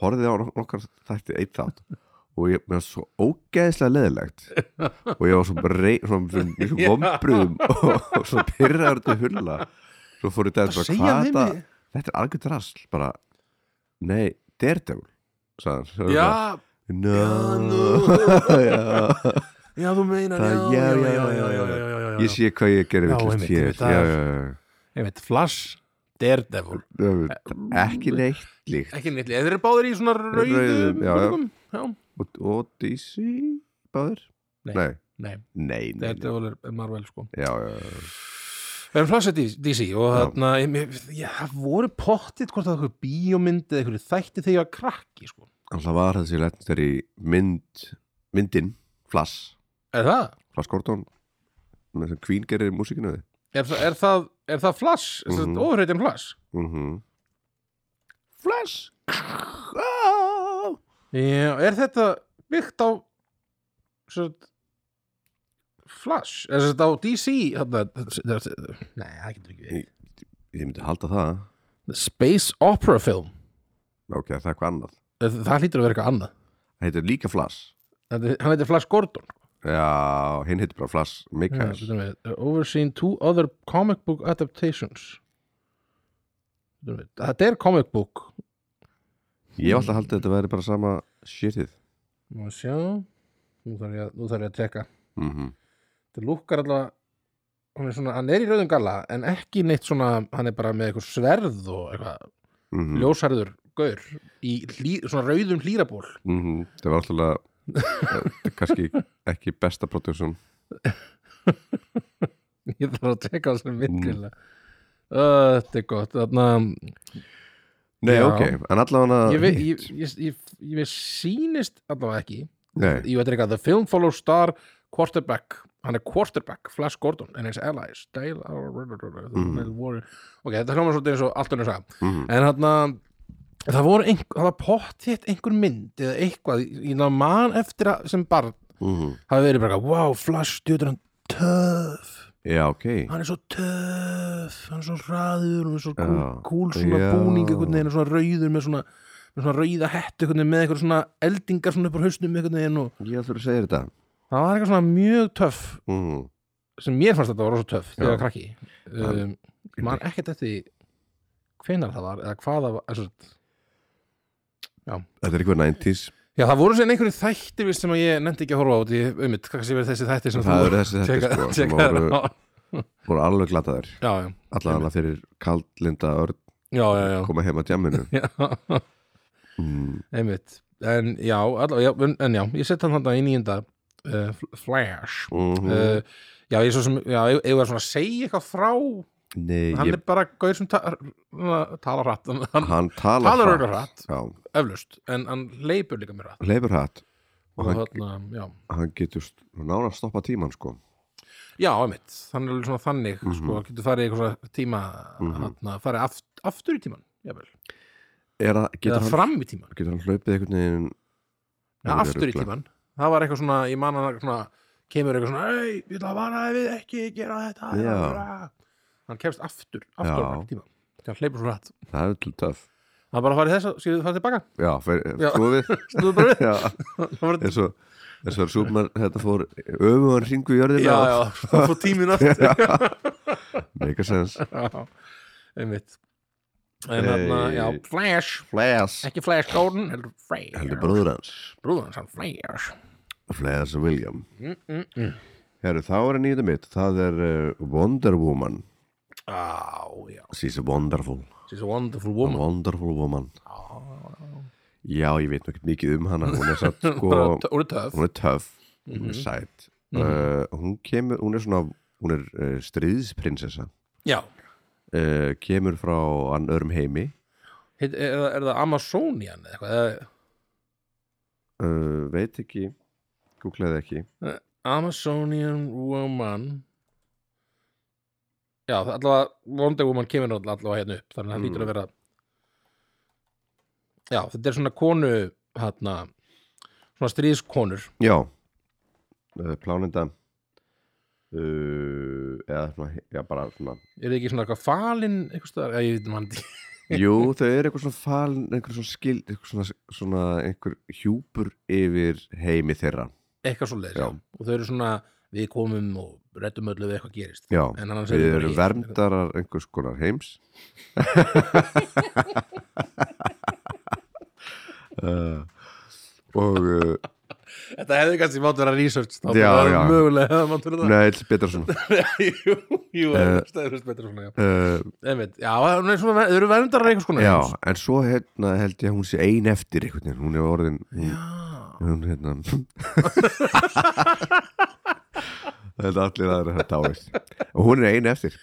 horfði á nok- nokkar þætti eitt þátt og ég mér var svo ógeðslega leðilegt og ég var svo brei, svona, svona mjög vombriðum og, og svo pyrraður þetta hulla svo fór ég dæð
það
bara
segja
hvað
þeim
þetta
í-
þetta er algjörð drasl bara, nei, Daredevil sagði hann
já,
no.
Já, nú.
já.
já, þú meinar já,
Það-
já,
já,
já,
já,
já,
já, já.
já, já, já,
ég
já.
sé hvað ég gerir
Já,
villist
einmitt,
hér já,
einmitt, það er-
já, já.
ég veit, Flash, Daredevil
ekki neitt líkt
ekki nýttli, þeir eru báðir í svona rauðum,
Rauðum, já, já.
búningum? já.
og, og DC báður?
Nei.
nei,
Nei,
nei, nei, nei.
Daredevil er- er Marvel sko
Já, já, já.
En Flash er D- DC og
Já.
þarna ég- mér- ég- það voru pottitt hvort það var eitthvað bíómynd eða eitthvað þætti þegar ég var krakki sko.
alltaf var þessi letnir í mynd myndin, Flass
Er það?
Flass Gordon með þessum Queen gerir músíkinu við
Er, það, er, það, er það Flash? Mm
Mhm.
-hmm. Ofurreitin Flash?
mm -hmm. Flass ah!
Já, er þetta byggt á svolít, Flash, er þetta á DC þarna, Nei, það getur ekki verið.
Ég myndi halda það
Space Opera Film
Ok, það er eitthvað annað
Það það hlýtur að vera eitthvað annað
Það heitir líka Flash
Þetta, Hann heitir Flash Gordon
Já, hinn heitir bara Flash
Já,
Mikael
bíddu við, Overseen two other comic book adaptations Bíddu við, Þetta er comic book
Ég hef alltaf haldið að þetta væri bara sama shitið
Má við sjá Nú þarf ég, að- nú þarf ég að tjekka
mm
Þetta lúkkar allavega Hann er, svona, hann er í rauðum galla en ekki neitt svona hann er bara með eitthvað sverð og eitthvað
mhm. Mm.
ljósarður gaur í hlý, svona rauðum hlýraból
mm Það var alltaf eh, kannski ekki besta production
ég þarf að tjekka á þessum myndkjöla uh, þetta er gott þarna,
Nei,
Já.
ok, en allavega
ég, ve- ég, ég, ég, ég, ég sýnist allavega ekki
Nei,
Jú, þetta er eitthvað The Film Follows Star Quarterback Hann er quarterback, Flash Gordon and his allies Dale
Mhm.
mm. Ok, þetta hljóma svolítið eins og allt önnur saga
mhm.
En hérna Það voru einhver, það var pottitt einhver mynd eða eitthvað, ég ná man eftir að sem barn
Mhm.
hafi verið bara eitthvað, wow, Flash djöður hann töf
Já, ok
hann er svo töf, hann er svo hraður og með svo
Já.
kúl, kúl svona
Já.
búning einhvern veginn og svona rauður með svona, með svona rauða hettu einhvern veginn með einhver svona eldingar svona upp á hausnum einhvern veginn og
Ég ætlur að segja þetta
það var eitthvað svona mjög töff
mm.
sem mér fannst þetta var rosa töff þegar
Já.
ég var krakki um, ég man ekkert eftir því hvenar það var eða hvað það var eða, svo sagt.
Þetta er eitthvað 90s
já það voru sér einhverju þættir víst, sem að ég nefndi ekki að horfa á því auðvitað kannski verið þessi þættir sem
Það
þú
eru þessi þetta sko sem
tjekka
voru,
á
voru alveg glataðir
já já
Allavega fyrir kaldlinda örn
já já já,
koma heim að djamminu
já.
mm.
einmitt en já, allavega, já, en, en já ég sett hann þarna í nýjunda uh, fl- Flash
Mm.
uh, já ég svo sem já, ég, ég var svona að segja eitthvað frá
Nei,
hann
ég,
er bara gaur sem ta talar hratt hann, hann
hann talar
talar
hratt.
auðvitað hratt
Já,
öflust, en hann leipur líka mér hratt
leifur hratt
og
Og hann,
þarna, já,
hann getur st- nána að stoppa tíman sko
já, einmitt þannig er alveg svona þannig, sko, getur farið í eitthvað svona tíma, mm
Mhm.
farið aft, aftur í tíman,
Er
jável,
að,
eða
getur, hann,
fram í tíman
getur hann hlaupið einhvern veginn
ja,
Alveg
aftur í
ruglað.
tíman, það var eitthvað svona ég man hann svona, kemur eitthvað svona ei, ég ætla að vara þig við ekki gera þetta
Já.
já. hann kemst aftur aftur
Já.
í tíman, hann leipur svo hratt
Það er til töff
hann bara farið þess að, skilðu það tilbaka
Já, fer,
Já.
svo við
snúðu bara við,
Já,
það var
eins og eins og Súpmann, þetta fór öfugan hringu í jörðina
já, já, það fór tímin aftur
Make a sense
já, einmitt en
Eh,
þarna, já, Flash
Flash
ekki Flash Gordon, heldur Flash
Heldur bróður hans
brúðan sann Flash
Flash William
Mm,
Herru, þá er að nýta mitt Það er uh, Wonder Woman
á, já,
She's a wonderful
she's a wonderful
a
woman
Wonderful woman Já, ég veit nú ekkert mikið um hana Hún er satt sko
bara, tö- hún er töf
Hún er töff Hún er sætt uh, Hún kemur, hún er svona Hún er uh, stríðsprinsessa
já,
uh, Kemur frá ann öðrum heimi
Heit, er, það- er það Amazonian eða eitthvað eða,
uh, Veit ekki Googlaði ekki
Amazonian woman já, það allavega Wonder Woman kemur náttúrulega allavega hérna upp þannig að það
Mm.
lítur að vera já, þetta er svona konu hérna, svona stríðskonur
Já uh, Plánenda uh, eða svona, já bara svona
er það ekki svona eitthvað falin eitthvað stöðar, já, ég veit um mann ekki
Jú, þau eru eitthvað svona falin einhver svona skil, einhver svona, svona einhver hjúpur yfir heimi þeirra
eitthvað svo leiðis,
Já.
og þau eru svona við komum og rettum öllu við eitthvað gerist
Já,
en annars
við
þau bara
eru
hér.
verndarar einhvers konar heims uh, og uh,
Þetta hefði kannski mátt vera research þá
Já,
það er
já.
Mögulega hefði mátt vera
Nei, þetta er betra svona
það Jú, jú, það
Eh.
er stæðfyrst betra svona já.
uh,
Einmitt, já, hún er svona, þau eru verndarar einhvers konar
Já,
heims.
en svo hérna held ég að hún sé ein eftir einhvern veginn, hún er orðin hún,
Já,
hún hérna Það er allir aðra að táist og hún er ein eftir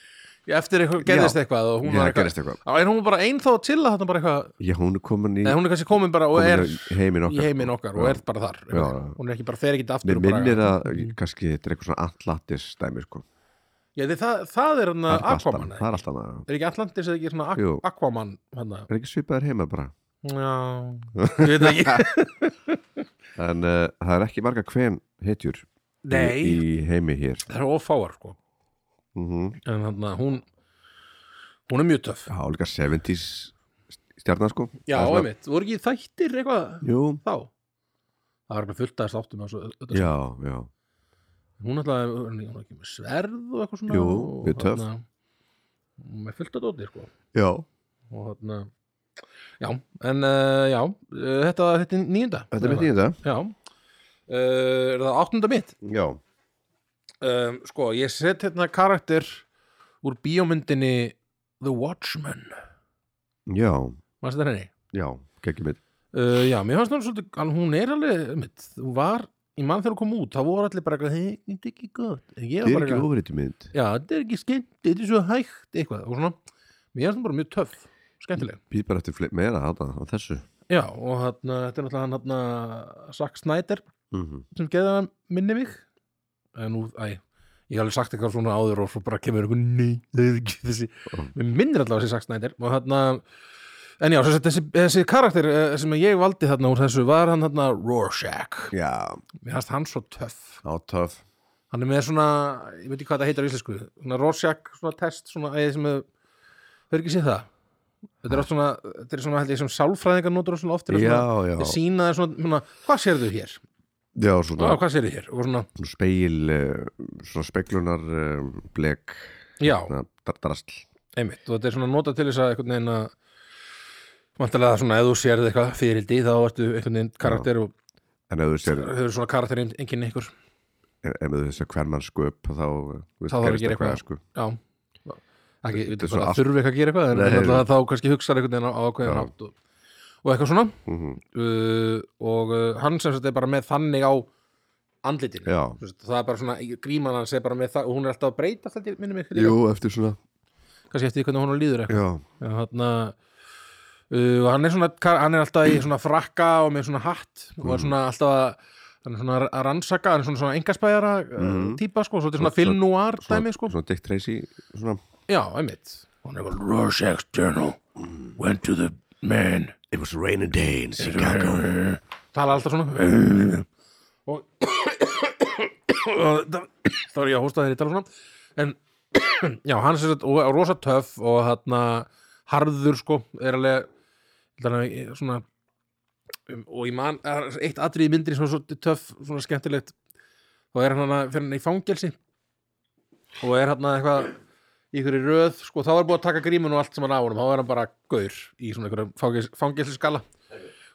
Ég, eftir eitthvað, gerðist
Já.
eitthvað og hún
Já,
var
gerðist
eitthvað
eitthvað
Já, En hún var bara einn þá að chilla þarna bara eitthvað
Já, hún er komin í,
Nei, hún er kannski komin bara og
komin
er
í heiminn
í
okkar
heiminn okkar og
Já.
er bara þar
Já, já.
Hún er ekki bara, fer ekki aftur
Mér
og bara-
minnir að
Mm.
kannski þetta er eitthvað svona Atlantis dæmi sko
Já, því það, það er hann
Það er allt annað- Það
Aquaman eða ekki?
er alltaf annað
Er ekki Atlantis eða ekki svona Aqu-
Jú.
Aquaman hann
Það er ekki svipaðir heima bara
Já, ég veit það ekki
en uh, það er ekki marga hven hetjur
Nei,
í, í heimi hér
það er ofáar sko
mm
En hann að hún Hún er mjög töff
Já, líka 70s stjarnar sko
Já,
Það er svona-
einmitt, voru ekki þættir eitthvað
Jú,
þá Það var eitthvað fullt aðeins áttum þessu, öllu.
já, já
Hún ætlaði, hún var ekki með sverð og eitthvað svona
Jú,
og
mjög töff.
þarna- Hún er fullt að dóti sko
Já,
og þarna já, en uh, já, uh, þetta, þetta er nýjunda
þetta er mitt í þetta
já uh, er það áttunda mitt
Já,
um, sko, ég set hérna karakter úr bíómyndinni The Watchmen
já,
varst þetta henni?
já, geggjum mitt
Uh, já, mér fannst hún svolítið al- hún er alveg, mitt, hún var í mann þegar hún kom út, þá voru allir bara eitthvað "Hey, þetta er ekki gott, ég
Þetta
var
er
bara
ekki
eitthvað
ofrið mynd
já, þetta er ekki skemmt, þetta er svo hægt eitthvað, og svona, mér fannst hún bara mjög töff skemmtileg
Býð bara eftir fle- meira að það á þessu
Já, og þarna, þetta er náttúrulega hann hann Zack Snyder
mm
sem geða minni mig en nú, æ, ég hef alveg sagt eitthvað svona áður og svo bara kemur einhvern ný þessi,
Mm.
mér minnir allavega þessi Zack Snyder og þarna en já, þessi, þessi, þessi karakter eh, sem ég valdi þarna úr þessu var hann þarna Rorschach
Já,
mér hans hann svo töff
á töf
hann er með svona, ég veit ekki hvað það heitir á íslensku svona Rorschach, svona test svona, æ, sem hefur hefur ekki séð það þetta er oft svona, þetta er svona held ég sem sálfræðingar notur og svona oft til að
Já,
svona,
já,
þeir sýna þér svona, svona, hvað sérðu hér?
já,
Já,
svona
hvað sérðu hér? og svona,
svona speil eh, svona speiklunar blek
já,
drastl
einmitt og þetta er svona nota til þess að einhvern veginn að vantarlega svona ef þú sérð eitthvað fyrildi þá ertu einhvern veginn karakter og
en ef þú sér,
hefur svona karakter enginn einhver
en- ef þú sér hvern mann sköp þá eh, þú veist,
Þá þarf að
gerist
gera eitthvað.
sko.
já ekki,
Þetta
þetta
er svona allt-
þurfi ekki að gera eitthvað en
Nei,
alltaf að þá kannski hugsaði einhvern veginn á ákveðin
Já.
átt og, og eitthvað svona
mm
uh, og uh, hann sem sagt er bara með þannig á andlitinu
já,
Þú veist, það er bara svona gríman hans er bara með það og hún er alltaf að breyta alltaf minnum ykkur
jú, eftir svona
kannski eftir því hvernig hún líður
já,
eitthvað Já, þarna, uh, og hann er svona hann er alltaf í svona frakka og með svona hatt og er svona alltaf að hann er svona að rannsaka, hann er svona, svona engaspæjara mm.
Mhm.
típa sko, svolítið svona
Svo-
film noir
svona,
dæmi sko,
svona Dick Tracy svona,
já, einmitt Mhm. og hann er bara Rorschach's journal went to the man
it was a rainy day in Chicago
tala alltaf svona og og það- þá er ég að hósta þegar ég tala svona en já, hann er sem sagt og og rosa töff og hann harður sko, er alveg þannig, eh, svona um, og ég man, það er eitt atrið myndri sem er svo töff, svona skemmtilegt þá er hann að fyrir hann í fangelsi og er hann eitthvað í einhverju röð, sko, þá er búið að taka grímun og allt sem hann á honum, þá er hann bara gaur í svona einhverju fangels, fangelsiskalla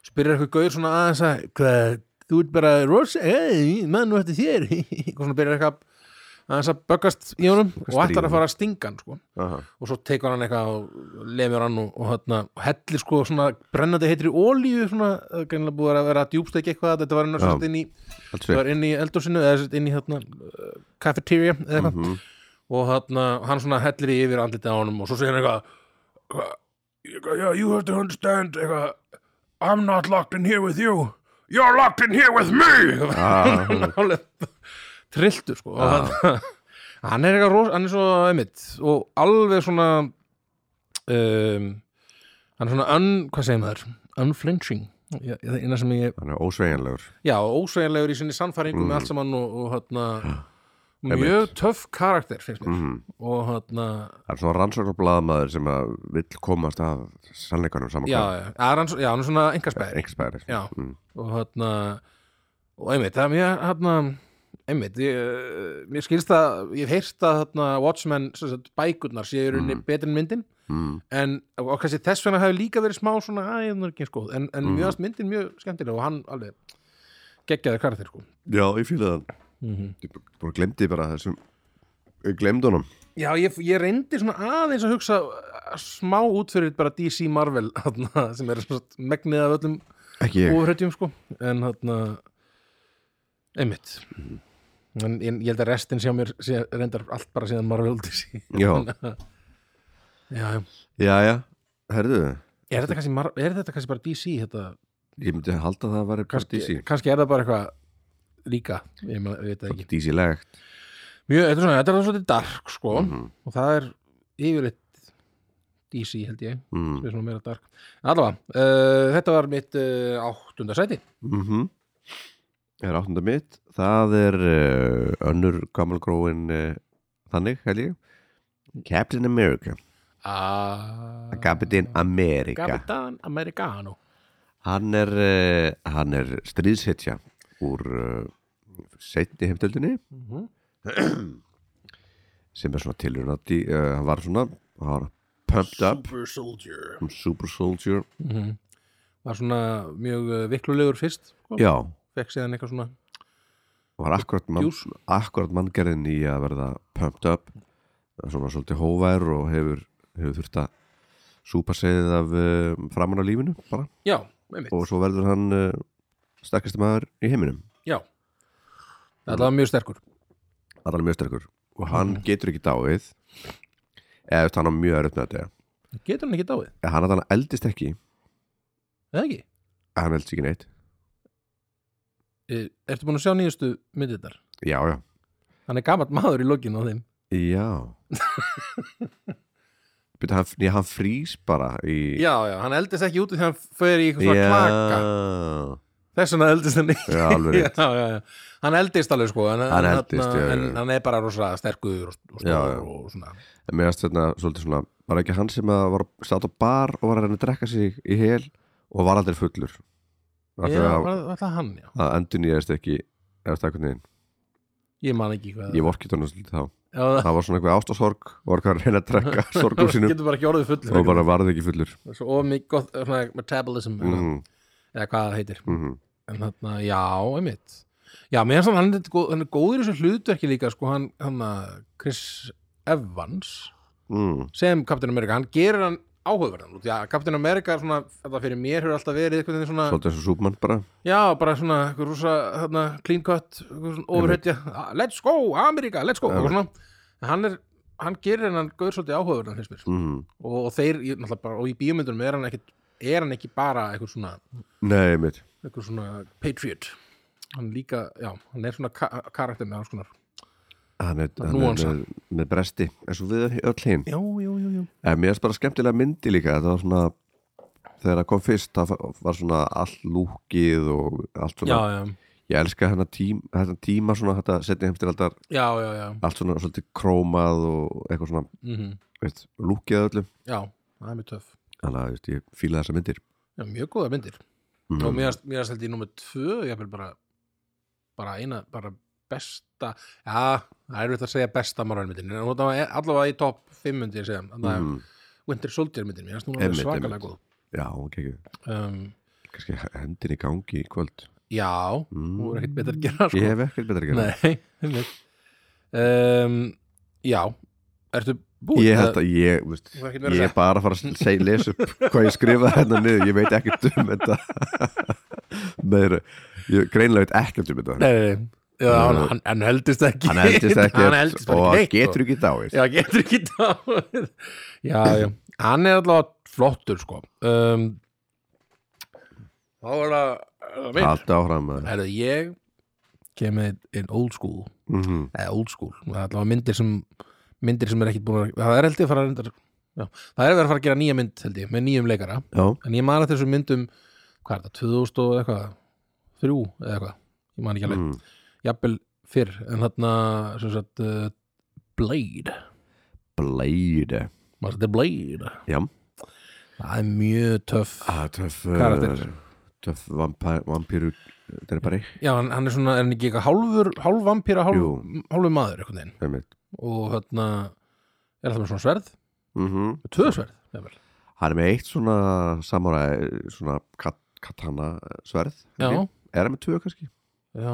spyrir eitthvað gaur svona aðeins að hvað, þú ert bara rosa, hey, mann nú eftir þér og svona byrjar eitthvað aðeins að böggast í honum og ætlar að fara að stinga hann sko.
Aha.
og svo tekur hann eitthvað og lemur hann og, og, hérna, og hellir sko svona brennandi heitri ólíu svona, það er greinilega búið að vera að djúbstækja eitthvað þetta var inn,
Já.
ja. inn, í,
allt
það
sveik
var inn í eldursinu eða sem sagt inn í hérna, uh, cafeteria eða eitthvað
Mhm.
og þarna, hann svona hellir í yfir andlitið á honum og svo segir hann eitthvað eitthvað, eitthvað, yeah, you have to understand eitthvað, I'm not locked in here with you you're locked in here with me
Ah.
Hann er alveg trilltu sko og þarna, hann er eitthvað ros, hann er svo einmitt og alveg svona um, hann er svona un, hvað segir maður, unflinching Já, það er eina sem ég,
hann er ósveginlegur
já, ósveginlegur í sinni sannfæringu
Mm.
með allt saman og, og hérna, mjög
Einmitt.
töff karakter finnst mér
Mhm.
og hérna,
það er svona rannsóknarbladamaður sem að vill komast að sannleikanum saman
já, já, já, hann, já, hann er svona engarspæðir
einhvers bæri
Já.
mm.
og hérna og einmitt, það er mjög hérna einmitt, ég, eh, mér skilst það ég hef heyrt að hérna, Watchmen sem sagt, bækurnar séu í rauninni
Mm.
betri en myndin
Mm.
en, og, og kannski þess vegna hefur líka verið smá svona, að ég er ekki skoð en, en
Mhm.
mjög allt myndin mjög skemmtileg og hann alveg geggjaði karakter sko
já, ég fýla það
Mhm.
ég bara glemdi bara þessum ég glemdi honum
Já, ég, ég reyndi svona aðeins að hugsa eh, smá út fyrir bara DC Marvel þarna, sem er svona megnið af öllum
ekki ég
óhröttjum sko en þarna einmitt en ég, ég held að restin sjá mér sé, reyndar allt bara síðan Marvel DC
já,
já, já.
já, já, herðu
er þetta kannski, Mar- er þetta kannski bara DC þetta,
ég myndi halda að það var
kannski,
DC
kannski er það bara eitthvað líka, ég, man, ég veit það ekki
DC-legt
mjög, þetta er svona, þetta er svona dark sko
Mhm.
og það er yfirleitt DC held ég
mm.
sem er svona meira dark allavega, uh, þetta var mitt uh, áttunda sæti
mm er áttunda mitt það er uh, önnur gammalgróin uh, þannig held ég Captain America
ah,
Captain America
Gabitan Americano
hann er, uh, hann er stríðshetja úr uh, setni heimtöldinni
mm
sem er svona tilrunati uh, hann var svona hann var pumped up
Super Soldier
super soldier
var svona mjög uh, viklulegur fyrst sko.
já
fekk síðan eitthvað svona
var akkurat, mann,
Djús.
akkurat manngerðin í að verða pumped up svona svolítið hóvær og hefur, hefur þurft að súpa segið af uh, framan á lífinu bara.
já, einmitt,
og svo verður hann uh, stakkast maður í heiminum
já þetta var mjög sterkur
það er alveg mjög sterkur og hann getur ekki dáið eða þú veist, hann á mjög erut með þetta
getur hann ekki dáið,
eða hann að hann eldist ekki
eða ekki
en hann eldist ekki neitt
Er, Eh, ertu búin að sjá nýjustu myndirnar?
já, já,
Hann er gamalt maður í lokinu á þeim
já Býtu, hann, já, hann frýs bara í
Já, já, hann eldist ekki úti þegar hann fer í eitthvað svona klaka
já,
Þess vegna eldist hann ekki
já, alveg
já,
rétt.
já, já. Hann eldist alveg sko Hann,
eldist,
hann,
já, já,
en
já.
hann er bara rosa sterkur og, og stór
Já, já.
og svona
En mér varst þarna svolítið svona var ekki hann sem að var státt á bar og var að reyna að drekka sig í hel og var aldrei fullur
Já,
Alltaf að,
var var það hann, já
að endun ég eðst ekki eðst eitthvað neginn,
Ég man ekki hvað
ég vorkið hann svolítið þá
já, það-
það var svona eitthvað ástasorg og var eitthvað að reyna að drekka sorgum sínum
Getur bara ekki orðið full
og bara varði ekki fullur
Svo of mikið gott, svona, metabolism
mm,
Eða hvað það heitir
mm,
en þarna, já, einmitt já, meðan samt hann er, góð, hann er góður í þessu hlutverki líka, sko, hann, hann að Chris Evans
mm,
sem Captain America, hann gerir hann áhugaverðan út, já, Captain America er svona þetta fyrir mér hefur alltaf verið eitthvað svona
svolítið eins og súpmann bara
já, bara svona, eitthvað rúsa, þarna, clean cut eitthvað svona overhættja, let's go America, let's go,
Einmitt.
eitthvað svona En hann er, hann gerir hann gaur svolítið áhugaverðan finnst mér,
mm.
og, og þeir, ég, náttúrulega bara og í bíómyndunum er hann ekki, er hann ekki bara eitthvað svona
nei, mitt
eitthvað svona patriot hann líka, já, hann er svona ka karakter með hans konar
hann er,
Það
hann
er
er
núansa.
með, með bresti eins og við öll hinn
já, já, já, já,
En mér finnst bara skemmtilega myndi líka það var svona þegar það kom fyrst það var svona allt lúkið og allt svona
já, já,
ég elska hennar tím, hennar tíma svona þetta setni heimstiraldar
já, já, já.
allt svona svolítið krómað og eitthvað svona
Mm
veist, lúkið öllu
já það er mjög töff
þannig að veist, ég fíla þessar myndir
já, mjög góða myndir
mm.
og mér varst- mér varst held í nummer tvö ég vil bara, bara eina bara besta, já, það er veit að segja besta morgan myndin, en hún var allavega í topp 5 myndi ég segja, þannig að
Mm.
Winter Soldier myndin, mér varst núna alveg
Einmitt,
svakalega góð
já, ok,
um,
kannski hendin í gangi í kvöld
já,
mm.
hún er ekkert betur að gera sko.
ég hef ekkert betra að gera
Nei, einmitt um, Já, ertu búin?
ég held að ég, veist,
Þú hefur ekkert verið
ég
að
er bara að fara að segja lesa upp hvað ég skrifaði hérna niður, ég veit ekkert um þetta meður ég greinlega veit ekkert um þetta
Nei, nei, nei. Já, hann, hann, hann heldist ekki
hann eldist ekkert
Hann heldist bara
og
ekki neitt,
getur
sko.
ekki dáið
Já, getur ekki dáið Já, já, hann er allavega flottur sko um, Þá er það er það mitt
alltaf áfram maður.
Herðu, ég kemur inn old school
Mhm.
eða old school, það er allavega myndir sem myndir sem er ekkert búin að það er held ég að fara að reyndar já, það er verið að fara að gera nýja mynd held ég, með nýjum leikara
já,
en ég man að þessum myndum hvað er það, 2000 og eitthvað þrjú eða eitthvað, ég man ekki alveg
mm.
jafnvel fyrr, en þarna sem sagt, uh, Blade
bleide
maður þetta er Blade
já,
það er mjög töff
ah, töff
Karakter.
uh, töff vampæ- vampíru þetta er bara ekki
já, hann, hann er svona, er hann ekki eitthvað hálfur hálf vampíra, hálf,
Jú.
hálfur maður einhvern veginn,
einmitt.
og þarna er alltaf með svona sverð,
Mhm.
með tvö sverð jafnvel.
hann er með eitt svona samurai svona kat katana sverð
já,
held ég. er hann með tvö kannski
já,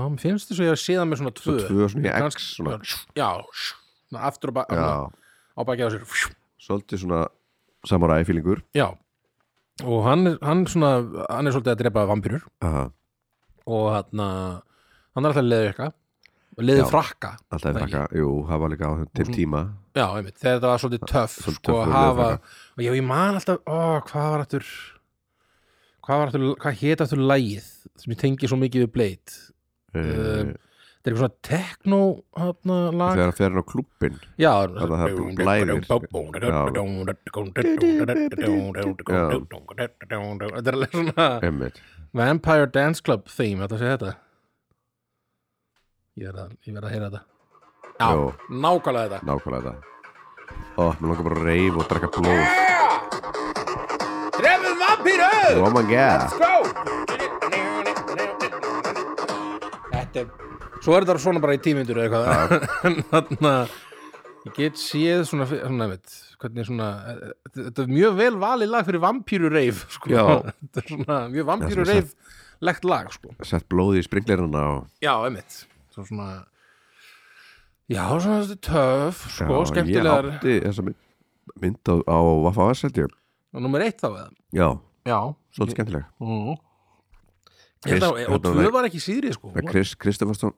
mér finnst þess að ég hef séð það með svona tvö,
Svo tvö svona í
Kannski-
X svona,
já, svona aftur á, bak, á,
já,
á bakið á sér
svolítið svona samurai fílingur
Já og hann, er- hann, svona, hann er svolítið að drepa vampýrur
Aha,
og hann, hann er alltaf að leðu eitthvað og leðu
Já.
frakka
alltaf
Það
er frakka, jú, það var líka á þeim til
svona-
tíma
Já, einmitt, þegar þetta var svolítið töff
Svolítið
sko
töff og
að hafa
leðurfrakka.
og já, ég man alltaf, ó, hvað var aftur hvað var aftur, hvað hét aftur lægið sem ég tengi svo mikið við bleit
uh,
Um,
uh,
Þetta er eitthvað svona techno hana, lag
þegar það fer hann á klubbin
já,
Þannig að það er blæðir. sko.
þetta er alveg svona
einmitt
Vampire Dance Club theme, þetta sé þetta ég verð að, ég verð að heyra þetta já,
Jó.
nákvæmlega þetta
nákvæmlega þetta ó, mér langar bara að reyf og drakka blóð
Drefum vampíru!
oh my god
Þetta er Svo er þetta svona bara í tímyndur eða eitthvað En þarna Ég get séð svona, svona veit, hvernig svona eh, Þetta er mjög vel valið lag fyrir vampíru reif sko.
Já.
Þetta er svona mjög vampíru reif Legt lag sko
sett blóði í springleiruna og
Já, einmitt Svo svona Já, svona þetta er töf sko,
Já,
skemmtilegar
ég átti þessa mynd, mynd á, á Vaffa Vasseld já,
Og nummer eitt þá eða Já
svolítið skemmtileg
mm.
Chris-
Þetta, og
þetta
tvö
var-
var ekki síðri sko
Með Chris Kristoffersson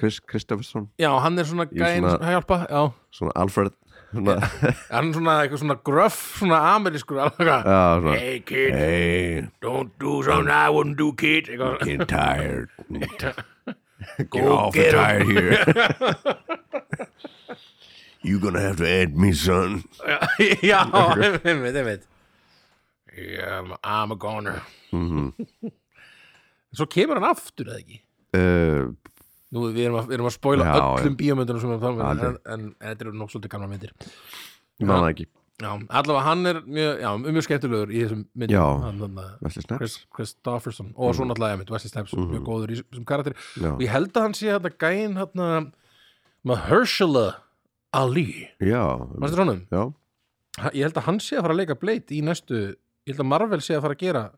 Chris Kristoffersson,
Já, hann er svona
Í
gæn
svona-
að hjálpa Já,
svona Alfred svona,
hann er svona eitthvað svona gruff svona amerískur alveg að
já, svona
Hey kid,
hey,
don't do something I wouldn't do kid eitthvað,
getting tired get
Go
awfully
get 'em.
tired here you gonna have to add me son
Já, einmitt, einmitt Yeah, I'm- I'm a goner
Mhm.
Svo kemur hann aftur eða ekki
uh,
Nú, við erum að, við erum að spoila
Já, já.
öllum bíómyndunum sem við erum að tala um en,
Aldrei.
en, en þetta eru nokk svolítið gamla myndir
ég man það ekki
Já, allavega hann er mjög, já, mjög skemmtilegur í þessum myndum
Já.
hann, þannig,
Wesley Snipes.
Chris, Christofferson og svo náttúrulega einmitt Wesley Snipes, mjög góður í þessum karakter
Mm. Já.
og ég held að hann sé hérna gæinn hérna Mahershala Ali
já,
Manstu honum?
já,
Ha- Ég held að hann sé að fara að leika Blade í næstu ég held að Marvel sé að fara að gera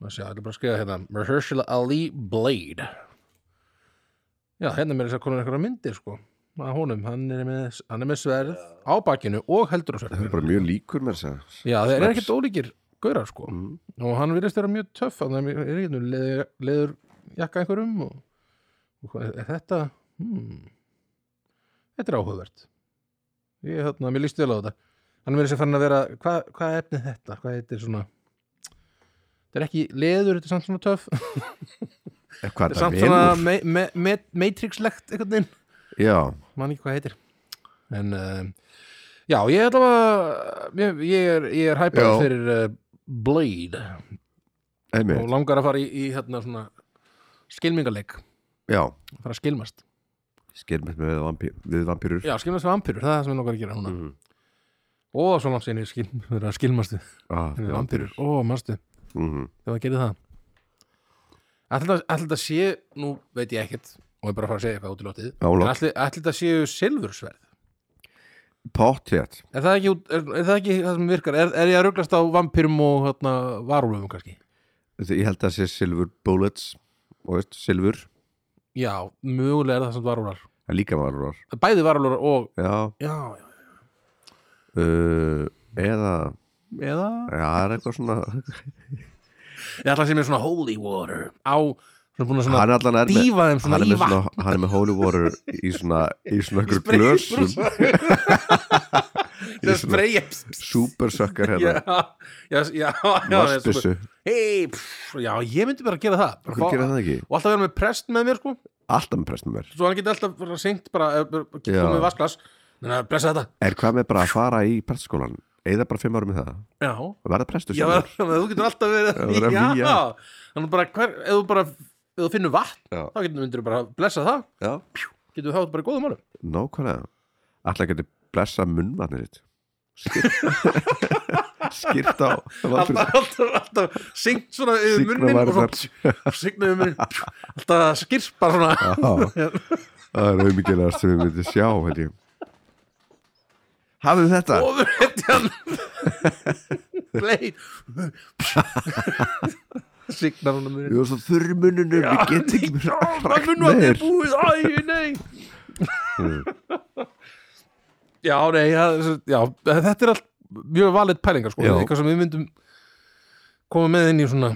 maður sé að bara að skrifa hérna Mahershala Ali Blade Já, hérna er mér þess að konar einhverja myndir sko að honum, hann er með, hann er með sverð á bakinu og heldur á
það
sverð
er bara mjög líkur með þess að
Já, þeir eru
Snipes.
ekkert ólíkir gaurar sko
Mm.
og hann virðist vera mjög töff þannig að hann er ekki nú leður, leður jakka einhverjum og, og hvað, er þetta hmm, þetta er áhugavert ég þarna, mér líst vel á þetta hann virðist að fann að vera, hvað, hvað er efnið þetta hvað þetta er svona þetta er ekki leður, þetta er samt svona töff þetta
Eitthvað
er
þetta
samt svona
Eh, velur?
me, me, me, matrixlegt einhvern veginn
Já,
man ekki hvað heitir en uh, já, ég ætla að ég, ég er, ég er hæpaður
Já.
fyrir uh, Blade og
einmitt,
langar að fara í, í hérna svona skilmingarleik,
já
fara að skilmast
skilmið með vampýr, við vampýrur
já, skilmast við vampýrur, það er það sem við langar að gera núna
Mhm.
Mm. og svo langt sér ég skil, vera að skilmast við
ah,
við vampýrur, ó, manstu
mm,
þegar það gerir það allir þetta sé, nú veit ég ekkert og ég bara að fara að segja eitthvað út í lótið
Álok.
en allir þetta séu silfursverð
Pottjætt
er það, ekki, út- er, er það ekki það sem virkar er, er ég að ruglast á vampýrum og hérna, varúlum kannski
Ég held að það sé silver bullets og veist, silver,
já, mögulega er það samt varúlar
það er líka varur
bæði varúlar og
Já,
já, já,
uh, eða
eða
Já, það er eitthvað svona
Ég ætla að sé mér svona holy water á svona búin að
Hann
svona
er allan er með
dýfa þeim
hann
svona
er
í
með,
vatn
svona, hann er með holy water í svona, í svona ykkur glösum
Það
í svona-
spreyja
supersökkar
Já,
hérna
já, já, já
Vassbissu,
Hei, pff, já, ég myndi bara að gera það
hvað gerir það ekki?
Og alltaf vera með prest með mér sko
Alltaf með prestum mér
Svo hann geti alltaf bara syngt bara eh, bara
Já.
komið með vasklas Þannig að blessa þetta
Er hvað með bara að fara í prestaskólan? Eða bara fimm árum í það?
Já,
Verða prestur
já
sjálfur?
þannig að þú getur
Já,
alltaf verið
vera
Já,
víja.
þannig bara hver Ef þú bara, ef þú finnur vatn
Já.
Þá getur myndir bara að blessa það
Já,
Getur þá bara í góðum málum
nákvæmlega Alltaf geti blessa munnvatnið sitt Skýrt- Skýrt á
alltaf, alltaf, alltaf syngt svona yfir
Signa
munnin og
varirnar.
svo signa yfir munnin alltaf að skirpa svona
Já, það er auðmyggilegast sem við myndum sjá, held ég Hafið þetta?
ofurhetjan bleið signa svona munnin
Við varum svo þurr í munnunum, við getum ekki mér
um það
rakt
munn var
meir
þið búið, æ, nei já, nei það, já, þetta er allt mjög valið pælingar sko,
Já.
eitthvað sem við myndum koma með inn í svona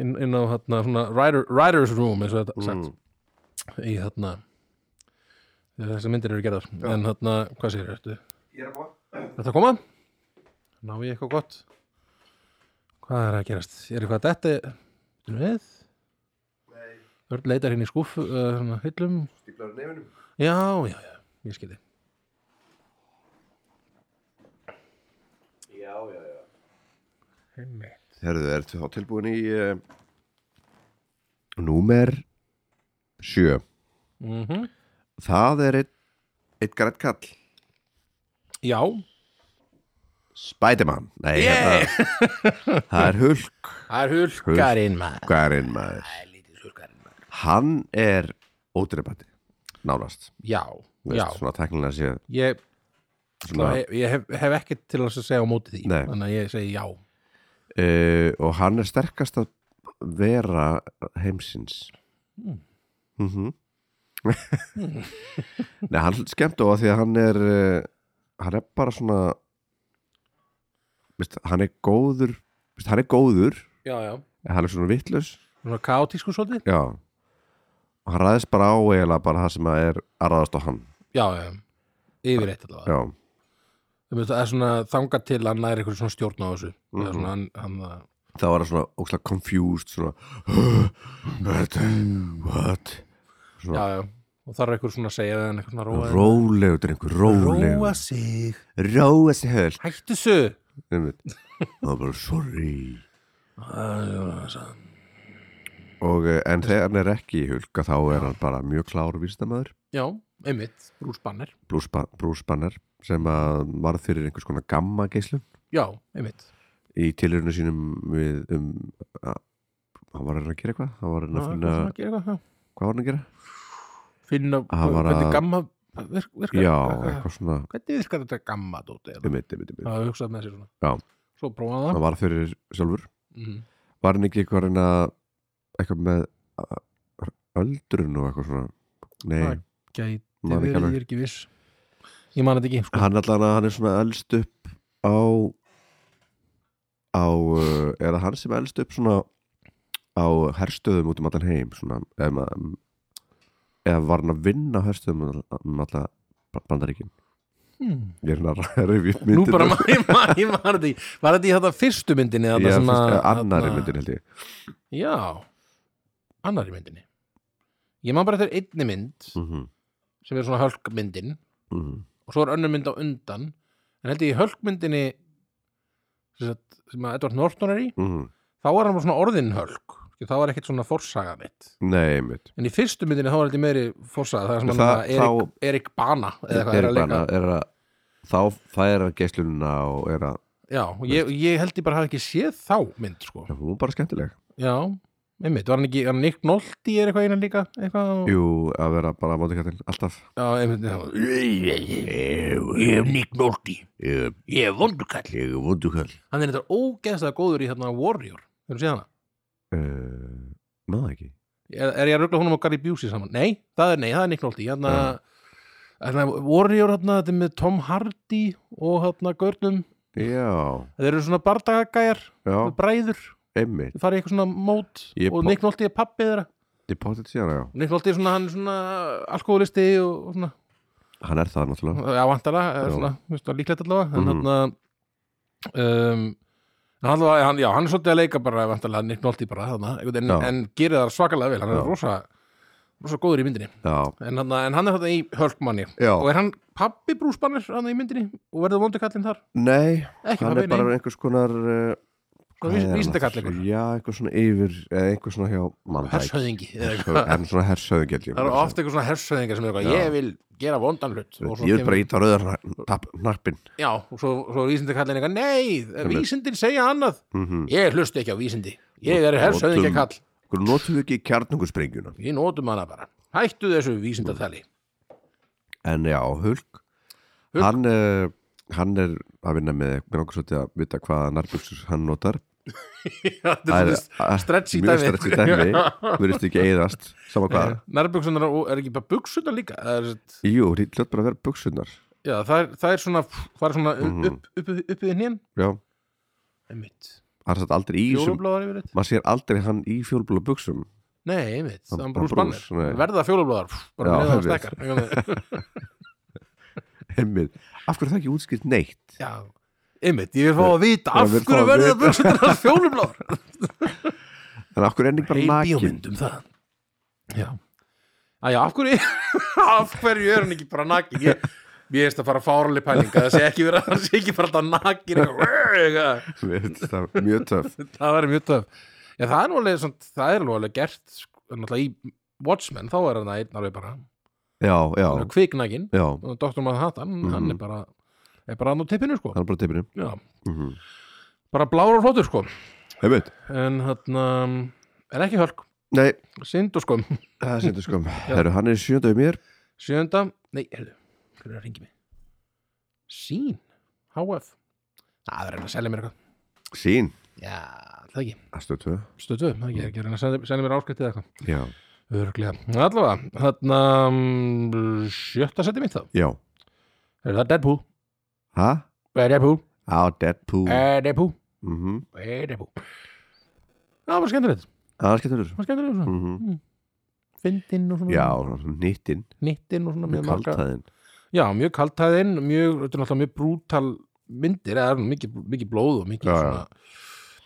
inn, inn á hérna svona writer, writer's room eins og þetta sagt í þarna þegar þessar myndir eru gerðar en þarna, hvað segir þetta? Þetta að koma? Ná ég eitthvað gott? Hvað er að gerast? Er eitthvað að þetta? Þetta er við? Nei Börn leitar henni í skúf uh, svona, hyllum,
Stíflar nefnum
já, já, já, ég skilji
Já, já, já
Einmitt.
Herðu, ertu þá tilbúin í uh, Númer 7
Mm
Það er eitt, eitt grætt kall
Já,
Spiderman Nei,
Yeah!
hérna, það er hulk
það er hulkarinn maður
Garinn maður
Það er lítið hulkarinn maður
Hann er ódreipandi Nánast
Já,
Þú
já, Sko,
veist, Svona tæknilega séð
ég,
svona,
ég, ég hef, hef ekkert til að segja á móti því
Nei.
Þannig að ég segi já
uh, Og hann er sterkast að vera heimsins
Hmm.
mm. Nei, hann er skemmt á því að hann er uh, Hann er bara svona veist, Hann er góður veist, Hann er góður
Já, já
en Hann er svona vitlaus
Svona kaotísku svolítið
Já Og hann ræðist bara á eiginlega bara það sem að er að ráðast á hann
Já, já, yfir eitt allavega
Já,
Þú veist, Það er svona þangað til að næri eitthvað svona stjórn á þessu mm
Mhm.
-hmm. svona, hann, hann, það-
þá var hann svona ókslega confused svona what, what?
Já, já, og þarf eitthvað svona að segja það en eitthvað svona róa
Rólegur drengur,
Róa
rólegur
sig,
Róa sig höll
hættu þessu
Það var bara sorry
Já,
og, eh, En þegar hann er ekki í hulka þá er hann bara mjög klár vísindamæður
já, einmitt, brúsbanner
Brúsbanner sem að varð fyrir einhvers konar gamma geislum
Já, einmitt
í tilurinu sínum við um að, hann var að reyna að gera eitthvað hann var að reyna að finna,
að gera eitthvað já.
hvað var hann að gera?
Finna
Hann var að-
hvernig gamma virk, virkar
Já,
Hvað-
eitthvað svona
Hvernig virkar þetta gamma
um
dóti Það
eitt, um eitt, um eitt
er hugsað með sér svona
Já.
Svo prófaði það
hann var fyrir sjálfur
mm.
var hann ekki eitthvað að reyna eitthvað með uh, öldrun og eitthvað svona nei,
Nei. Gæti
Man ekki
verið,
alveg.
ég er ekki viss Ég man þetta ekki sko.
hann allan að hann er svona elst upp á á, uh, er það hann sem elst upp svona á herstöðum út um allan heim svona, ef maður eða var hann að vinna á herstöðum um all- um alla bandaríkin
hmm.
ég er hann að reyfi upp
Nú
myndir
bara man- ég man- ég man þetta í Var þetta í þetta fyrstu myndinni
ég
þarna
er
sem að-
fyrst annari
þarna-
myndir held ég
Já, annari myndinni Ég man bara þetta er einni mynd
mm -hmm.
sem er svona hölkmyndin
Mm -hmm.
og svo er önnur mynd á undan en held ég í hölkmyndinni sem, sagt, sem að Edward Norton er í
Mhm,
þá var hann bara svona orðin hölk Skilur, þá var ekkert svona forsaga mitt
nei, mitt
en í fyrstu myndinni þá var held ég meiri forsaga það er sem hann
Það-
það, Erik, Erik Bana eða hvað er að leika
Eyrnana er að þá færa geislunina og er að
já, og ég, ég held ég bara hafi ekki séð þá mynd sko.
já, hún er bara skemmtileg
já, einmitt, var hann ekki var hann Nick Nolte er eitthvað einan líka eitthvað, og-
jú, að vera bara mótikatinn, alltaf
já, einmitt, já,
ég hef nýtt nólti ég
ég er vondukall
hef vondukall
hann er þetta ógeðslega góður í þarna Warrior þú séð hana
Eh, maður ekki
er, er ég að ruggla honum og Gary Busey saman? Nei, það er, nei, það er Nick Nolte hérna, hérna, Warrior hérna, þetta er með Tom Hardy og hérna Görnum,
já,
þeir eru svona bardagagæjar
já,
bræður,
einmitt
þeir fara í eitthvað svona mót
Ég
og
pa-
Nick Nolte er pappi þeirra
ég potið síðan, já,
Nick Nolte er svona, hann er svona alkoholisti og, og svona,
hann er það náttúrulega
já, vantara er
Já.
svona, þú veist, það er líklegt allavega en
Mhm.
hérna um, en hann, allavega- hann, já, hann er svolítið að leika bara vantarlega Nick Nolte bara þarna, einhvern veginn,
Já.
en, en gerir það svakalega vel, hann
Já.
er rosa rosa góður í myndinni
já, e-
en, hann, en hann er þetta í Hölkmanni
já,
og er hann pappi brúsbannir hann í myndinni og verður vondukallinn þar
nei
ekki
hann
pappi,
er bara einhvers konar eh, hvað er
nei,
hann
vísindakall
aftur?
eitthvað
já, eitthvað svona yfir, eða eitthvað svona hjá mann það ekki.
hershöðingi eða eitthvað.
Hershöfð- en svona hershöðingjall
það eru ofta eitthvað svona hershöðingar sem er eitthvað
Já.
ég vil gera vondan hlut og svo,
ég vil bara íta á rauðar nappin
já, og svo, svo vísindakallin eitthvað nei, vísindin segja annað
Mhm.
ég hlustu ekki á vísindi ég er hershöðingi kall
Hvernig notum við ekki kjarnungursprengjuna?
ég notum hana bara hættu þessu vísindatali
En já, Hulk,
Hulk.
Hann, uh, hann er að vinna með mér langar svolítið að vita hvaða nærbuksur hann notar
þetta er svona
eh,
stretch í
mjög
dæmi.
stretch í dæmi Verðist ekki eigðast, sama hvað
nærbuksunar og er ekki bara buksunar líka það er,
Jú, hlýtt hljótt bara að vera buksunar
já, það er, það er svona, það er svona
Mhm.
upp, upp, upp, upp, upp í hinn
Já, hann
einmitt
er satt aldrei í sem,
Fjólubláðar yfir þetta?
Maður sér aldrei hann í fjólbúla buksum
Nei, einmitt, það
Hann-
var brús
hann Bruce,
bannir
nei.
Verða fjólubláðar, pff, bara
Já,
með það
einmitt.
stekkar einhvern veginn.
Hemmið, af hverju er það ekki útskilt neitt?
Já, einmitt, ég vil fá að vita
Já,
Af
vil fá
hverju
að
verða
vita.
buksunar fjólubláðar
En af hverju er hann ekki bara
Heil
nakin?
bíómynd um það já Æja, af hverju af hverju er hann ekki bara nakin ég, ég veist að fara fárali pælinga það sé ekki verið að það sé ekki bara alltaf nakin eitthvað, eitthvað.
Mér finnst það mjög töf
það væri mjög töf já, það er nú alveg, svona, það er nú alveg gert sko, náttúrulega í Watchmen þá er hann einn alveg bara
Já, já,
hann er kviknakin
já
Dr. Manhattan, hann er bara er bara hann á tippinu sko
Það er bara tippinu
Mhm. já,
mm -hmm.
bara blár og flottur sko
Heimitt
en þarna en ekki hölk,
Nei,
synd sko. og skum
það er sýndu skum Herru, hann er í sjönda um mér
sjönda, nei, heyrðu hverju er að ringi mig sín, HF það er að reyna að selja mér eitthvað
Sín
já, það ekki,
Astu tvö
stöðu, það ekki, er ekki að reyna að selja, selja mér áskriftið eitthvað
Já,
Örglega, allavega, þarna mm, sjötta seti mitt þá,
já
er það Deadpool
Ha?
Eh, Deadpool,
Á, Deadpool
eh, Deadpool
Mhm
eh, Deadpool Já, það var skemmtilegt,
Það er skemmtur
það var skemmtilegt svona.
Mhm.
fyndinn og svona
Já, nýttinn
nittinn og svona mjög marga-
Kaltæðin
Já, mjög kaltæðinn, mjög, þetta er náttúrulega mjög brútal myndir, eða það er nú mikið, mikið blóð og mikið
Já, já.
svona,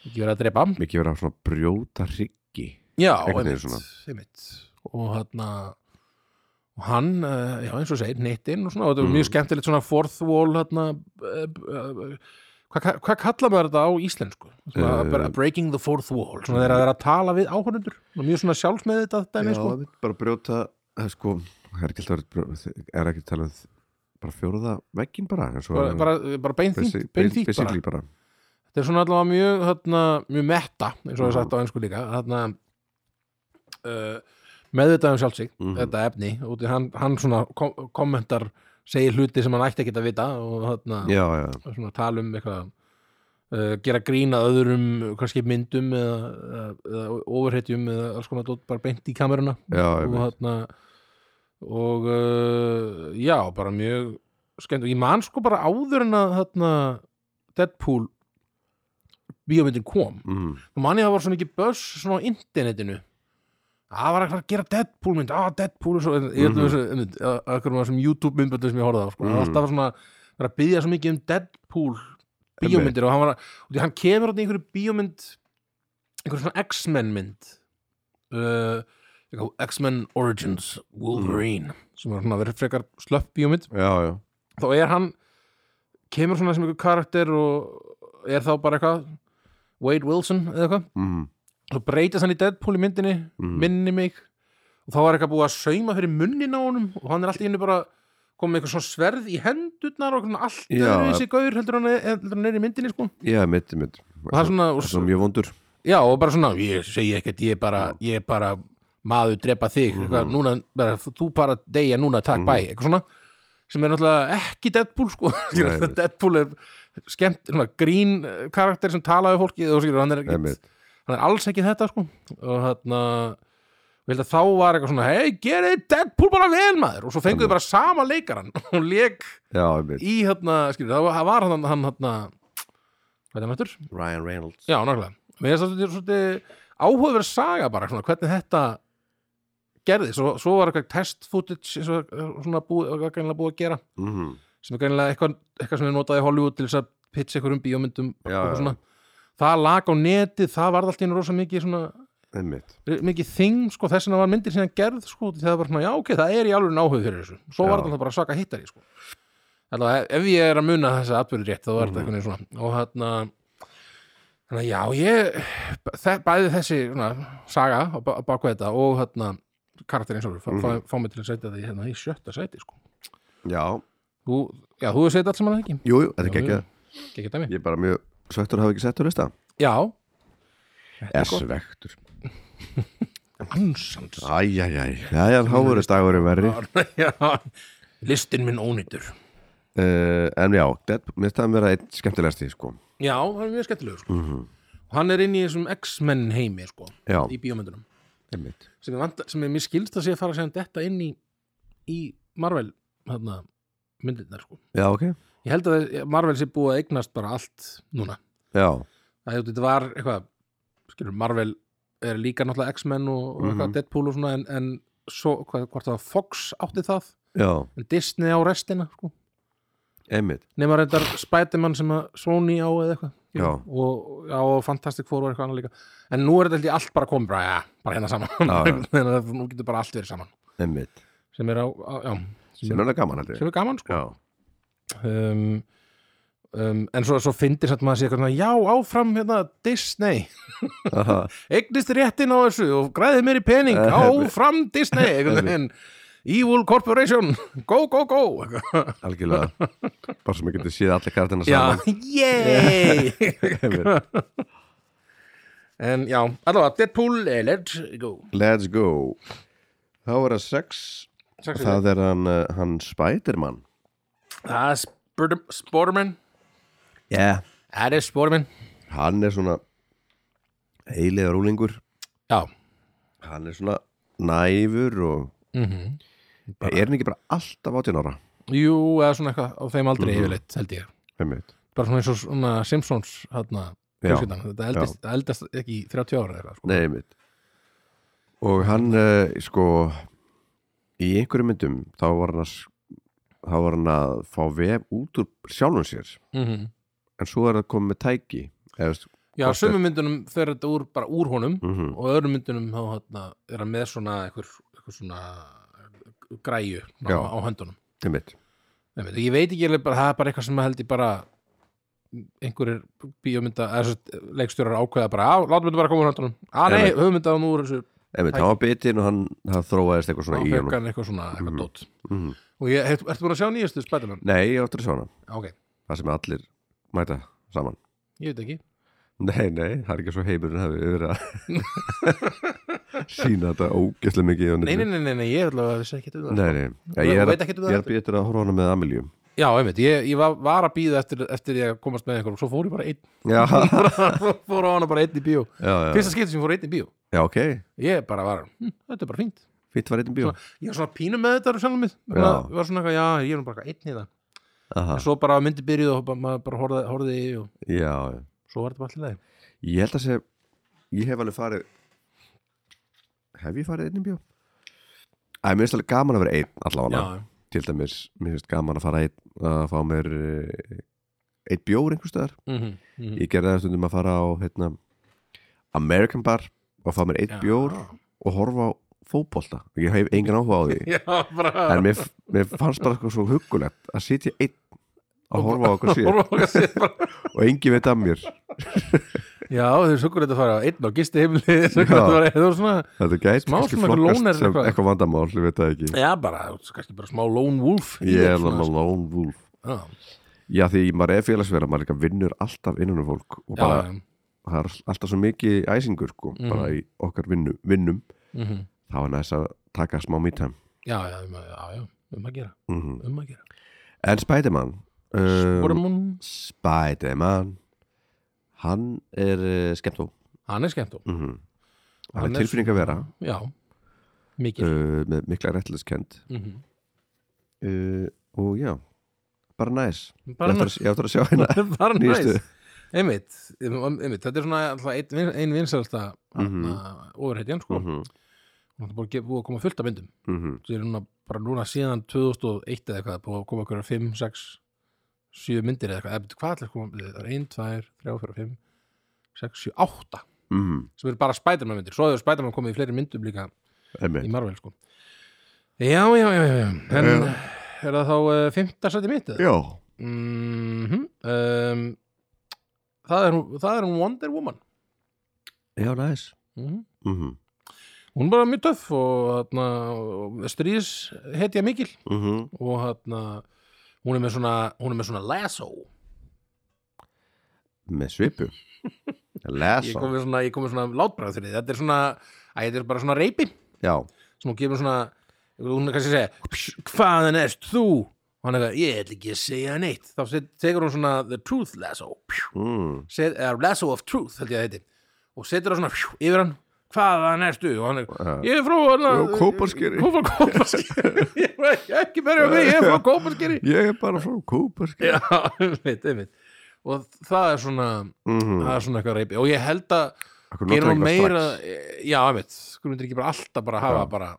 mikið verið að drepa
Mikið verið að svona brjóta hryggi
Já,
Einhvern veginn
einmitt,
svona.
einmitt og hann og hann, eh, já eins og segir, nittinn og svona, og þetta er
Mm.
mjög skemmtilegt svona fourth wall hérna eh, eh, hvað ka- hvað kallar maður þetta á íslensku? Svona,
Eh.
bara breaking the fourth wall, svona þegar það er að tala við áhörundur mjög svona sjálfsmeð þetta dæmi, sko
einmitt, bara brjóta það er sko, það er ekki alltaf verið brjó- er ekki talað um bara fjóruða veggin bara, en svo
bara, bara, bara bein
basi-
þýnt, bein þýnt bara
basically bara
þetta er svona allavega mjög, þarna, mjög metta eins og það er
Mhm.
sagt á einsku líka þarna, uh, meðvitað um sjálfsík
Mhm.
þetta efni, út í hann, hann svona kom kommentar, segir hluti sem hann ætti ekki að vita og þarna,
já, já,
svona tala um eitthvað uh, gera grína öðrum kannski myndum eða, eða, eða overhetjum eða alls konar dót bara beint í kameruna
já,
og
einmitt.
þarna og uh, já, bara mjög skemmt og ég man sko bara áður en að þarna Deadpool bíómyndin kom
Mm,
og manni það var svona ekki börs svona á internetinu það var eitthvað að gera Deadpool mynd að Deadpool og svo, en ég held
Mhm.
að þessu einmitt, að- að einhverjum af þessum YouTube myndböndum sem ég horfði á sko, mm
Mhm.
-hmm. alltaf var svona var að byggja svo mikið um Deadpool bíómyndir og hann var að, og því hann kemur þarna í einhverju bíómynd einhverju svona X-Men mynd uh, eitthvað X-Men Origins
Mhm.
Wolverine sem er svona verið frekar slöpp bíómynd
já, já,
þá er hann kemur svona sem einhver karakter og er þá bara eitthvað Wade Wilson eða eitthvað
mm,
svo breytist hann í Deadpool í myndinni
Mhm.
minni mig og þá var eitthvað búið að sauma fyrir munnin á honum og hann er alltaf innu bara komið með eitthvað svona sverð í hendurnar og eitthvað allt
Já,
öðru þessi gaur heldur hann, er- heldur hann er í myndinni sko. og
já, mitt, mitt
það er svona, og,
svo mjög vondur
já og bara svona ég segi ekkert, ég er bara, ég er bara maður drepa þig, eitthvað, núna bara, þú bara deyja núna, takk bæ eitthvað svona, sem er náttúrulega ekki Deadpool sko,
Nei.
Deadpool er skemmt, svona grín eh, karakter sem talaði fólki og skilur, hann er ekkert
Einmitt.
hann er alls ekki þetta sko og þarna ég held að þá var eitthvað svona hei, gerði Deadpool bara vel maður og svo fenguðu bara sama leikaran og leik
já, mitt,
í hérna, skilur, það var- það var hann hann hérna, hvað er hann hættur?
Ryan Reynolds
Já, nákvæmlega mér finnst það svolítið- svolítið áhugaverð saga bara svona, hvernig þetta gerði, svo, svo var eitthvað test footage eins og eh, svona búið, var greinilega búið að gera
mm,
sem er greinilega eitthvað, eitthvað sem er notað í Hollywood til þess að pitcha einhverjum bíómyndum og
Já, já.
svona. það lag á netið, það varð allt í einu rosa mikið svona
einmitt
mikið þing, sko, þess vegna var myndir síðan gerð, sko, því það var svona, já, ok, það er í alveg náhuð fyrir þessu, svo
Já.
var þetta bara svaka hittari, sko Alla, ef ég er að muna þessa atbyrði rétt, þá var
Mhm.
þetta einhvern veginn svona og þarna þannig að já, ég þe- bæði þessi svona, saga á ba- á baku þetta og þarna karakterinn sjálfur, fá, fá,
Mhm.
fá mig til að setja það í, hérna, í sjötta sæti, sko
já,
þú, já, þú hefur setið allt sem hann ekki,
jú, jú, þetta
Já,
er ekki
já. ekki dæmi
ég er bara mjög svektur að hafa ekki sett á lista
já,
er
Sko.
svektur
ansans
æjæjæj, já, já, háður er dagurum verri
já, listin minn ónýtur
uh, en já, Deadpool, mér staðum vera einn skemmtilegasti sko, Mhm,
Já, hann er mjög skemmtilegur sko. og hann er inn í þessum X-Men heimi sko,
já,
í bíómyndunum
einmitt
sem er, vant, sem er mér skilst að sé að fara að segja um þetta inn í, í Marvel þarna, myndirnar sko.
já, ok,
ég held að Marvel sé búið að eignast bara allt núna
já,
það hefði þetta var eitthvað skilur, Marvel er líka náttúrulega X-Men og, og
Mhm.
eitthvað Deadpool og svona en, en svo, hvað, hvort það var Fox átti það
já,
en Disney á restina sko.
einmitt
nema reyndar Spiderman sem að Sony á eða eitthvað
Já.
og já, og Fantastic Four var eitthvað annað líka en nú er þetta held ég allt bara komið bara, ja, bara hérna saman
Já, já.
Þannig að nú getur bara allt verið saman
Einmitt.
sem er á, á já, sem,
sem er alveg gaman heldur
sem er gaman sko
já,
um, um, en svo, svo fyndir satt maður að sé eitthvað svona, já áfram hérna Disney
Aha,
eignist réttin á þessu og græðið mér í pening áfram Disney einhvern veginn Evil Corporation, go, go, go
algjörlega bara sem ég geti séð allir kartina
Já,
saman
yey
Einmitt.
En já, allavega, Deadpool, eh, let's go
let's go þá er það sex
Sex er
það er hann, uh, hann Spiderman
Það er Spurd- Sportman
yeah.
Það er Sportman
hann er svona heiliga rúlingur
Já,
hann er svona næfur og
Mhm.
er hann ekki bara alltaf 18 ára
jú, eða svona eitthvað á þeim aldrei
Mhm.
yfirleitt, held ég
Einmitt.
Bara svona eins og svona Simpsons hérna,
Já.
fjölskyldan. þetta eldist, það eldast ekki í 30 ára eða, eitthvað, sko.
Nei, einmitt Og hann, uh, sko í einhverjum myndum þá var hann að s- þá var hann að fá vef út úr sjálfum sér
Mhm.
en svo er það komið með tæki eða, veist,
Já,
Hvort er-
sumum myndunum fer þetta úr, bara úr honum
mm -hmm.
og öðrum myndunum þá hérna, er hann með svona einhver, einhver svona græju á,
Já.
á höndunum
einmitt
Nei, veit, ég veit ekki alveg bara, það er bara eitthvað sem held ég bara einhverjir bíómynda, eða svo leikstjórar ákveða bara, á, látum þetta bara koma úr höndunum að nei,
Einmitt.
höfmyndaðum úr þessu
einmitt,
Tæki.
hann var bitinn og hann það þróaðist eitthvað svona í honum
áfengan eitthvað svona, eitthvað
Mhm.
dót
mm
og ég, ert, ertu búin að sjá nýjastu Spiderman?
Nei, ég áttur að sjá hana
ok,
það sem allir mæta saman
ég veit ekki
Nei, nei, það er ekki svo heimurinn hafi verið að sína þetta ógeðslega mikið á
nei,
netinu.
nei, nei, nei, nei ég ætla að vissi ekki þetta
Nei, nei, Já,
Þú
ég er
veit
að,
ekkert um það
ég er að býja eftir að horfa á hana með Amelíu
já, einmitt, ég, ég var, var að býða eftir, eftir ég að komast með einhverjum, svo fór ég bara einn
Já,
fór á hana bara einn í bíó
já, já,
fyrsta skipti sem ég fór einn í bíó
já, ok
ég bara var, hm, þetta er bara fínt
Fýtt var einn bíó
ég var svona pínu með þetta sjálfum mig
Já.
Ég var svona eitthvað, já, ég er nú bara eitthvað einn í það
Aha,
En svo bara myndi byrjuð og bara- maður bara horfði, horfði í og
já, já.
svo var þetta bara allir leið.
ég held að segja Ég hef alveg farið Hef ég farið einn bíó? Æ, mér finnst alveg gaman að vera einn allavega Til dæmis, mér finnst gaman að fara einn að fá mér eh, einn bjór einhvers staðar
Mm -hmm. Mm
Ég gerði það stundum að fara á hérna, American Bar og fá mér einn bjór og horfa á fótbolta Ég hef engan áhuga á því
Já, bara
en mér, mér fannst bara eitthvað svo huggulegt að sitja einn að horfa á okkur síðan
Horfa á hvað séð bara.
og engi veit af mér
Já, þau sögur þetta að fara einn á gisti heimli sögur þetta að fara, þau voru svona
þetta gæti
Smá
kannski
svona eitthvað
flokkast
loner
sem
eitthvað.
eitthvað vandamál, ég veit það ekki
Já, bara, þú veist, kannski bara smá lone wolf í
ég
þér,
er
svona.
alveg lone wolf
Já,
já því maður er félagsverða, maður líka vinnur alltaf innan um fólk og
já,
bara það er alltaf svo mikið æsingur sko, bara í okkar vinnu, vinnum
mhm.
þá er næst að taka smá mítæm
já, já, um að- já, já, um að gera
mm
um að gera
en Spiderman um,
Spormon,
Spiderman hann er uh, skemmt þó
hann er skemmt og
mm hann
Hann
er
er
tilfinning að vera
Já, mikið
uh, með mikla réttliskend
Mhm.
uh, og já, bara næs
Bara
ég ætla að- ég ætla að sjá hérna
bara
Nýjustu.
næst einmitt, um, einmitt, þetta er svona alltaf ein, ein vinsalasta mm
Mhm.
-hmm. ofurhetjan sko, mm
Mhm,
-hmm. búið að ge- búið að koma fullt af myndum
mhm,
það er núna, bara núna síðan 2001 eða eitthvað, búið að koma okkur 5, 6 7 myndir eða eitthvað, eða bíddu, hvað allir koma það er 1, 2, 3, 4, 5 6, 7, 8
mhm,
sem eru bara Spiderman myndir, svo hefur Spiderman komið í fleiri myndum líka í
einmitt.
Marvel sko já, já, já, já, já. en er það þá uh, 5. sæti mitt eða?
já,
mm um, það, er, hún- það er hún Wonder Woman
já næs mhm,
hún er bara mjög töff og, þarna, og stríðis hetja mikil
mhm,
og þarna, hún er með svona hún er með svona lasso
með svipu
ég
lesa,
kom með svona, ég kom með svona látbræð fyrir því þetta er svona, að þetta er bara svona reypi
já
sem hún gefur svona hún er kannski að segja, "Pss, hvaðan erst þú og hann er eitthvað, ég ætla ekki að segja neitt þá set- tekur hún svona the truth lasso pjú
mm,
set, uh, Lasso of Truth held ég að heiti og setur það svona hjú, yfir hann hvaðan ertu og hann er, ég er frá hérna, eh, hana,
Frá Kópaskeri."
Kópa, Kópaskeri. ég er ekki- ekki berja mig, ég er frá Kópaskeri
ég er bara frá Kúpa
já, einmitt, einmitt og það er svona,
Mhm.
það er svona eitthvað reypi og ég held að gerum hún meira e, já, einmitt, skulum þetta ekki bara alltaf bara hafa
Já.
bara,
að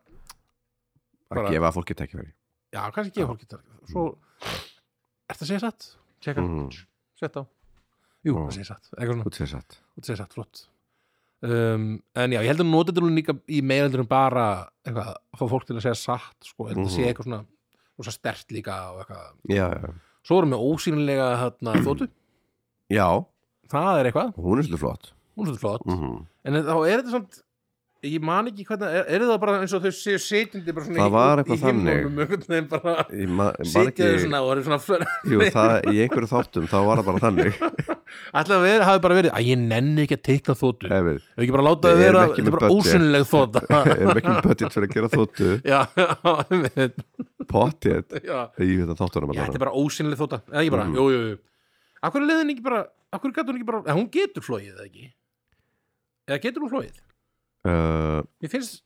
bara-
gefa fólki tekkifæri
já, kannski Mm. ekki fólk getur svo, ertu að segja satt? tjekka,
Mhm.
sett á Jú,
Já.
það sé satt, eitthvað svona
út sér satt
það sé satt flott um, en já, ég held að notið hún líka í meireldur en bara eitthvað, að fá fólk til að segja satt sko, þetta
Mhm.
sé eitthvað svona og stert líka og eitthvað
já, já.
svo erum við ósýnilega þarna þóttu
já,
það er eitthvað,
hún er svolítið flott
hún er svolítið flott
mm
en þá er þetta samt ég man ekki hvernig, er, er það bara eins og þau séu sitjandi bara svona
Það
í-
var
í
eitthvað
himnunum, einhvern veginn bara
ég ma man
sitja þau
ekki
svona og eru svona flör
jú, það, í einhverju þáttum þá var það bara þannig
ætlaði að vera, hafi bara verið, að ég nenni ekki að teikna þóttu,
ef Eh, við
hefur ekki bara láta það
Við erum
vera
ekki
þetta er
með
bara
budget.
ósýnileg þóta
erum ekki með budget fyrir að gera þóttu
já, já, einmitt,
pottet
já.
í þetta þáttunum
Já, þetta
allavega.
er bara ósynlega þóta eða ekki bara,
Mhm.
jú, jú, jú Akkur leði henni ekki bara, akkur gæti hún ekki bara eða hún getur flóið eða ekki eða getur hún flóið
uh,
Mér finnst,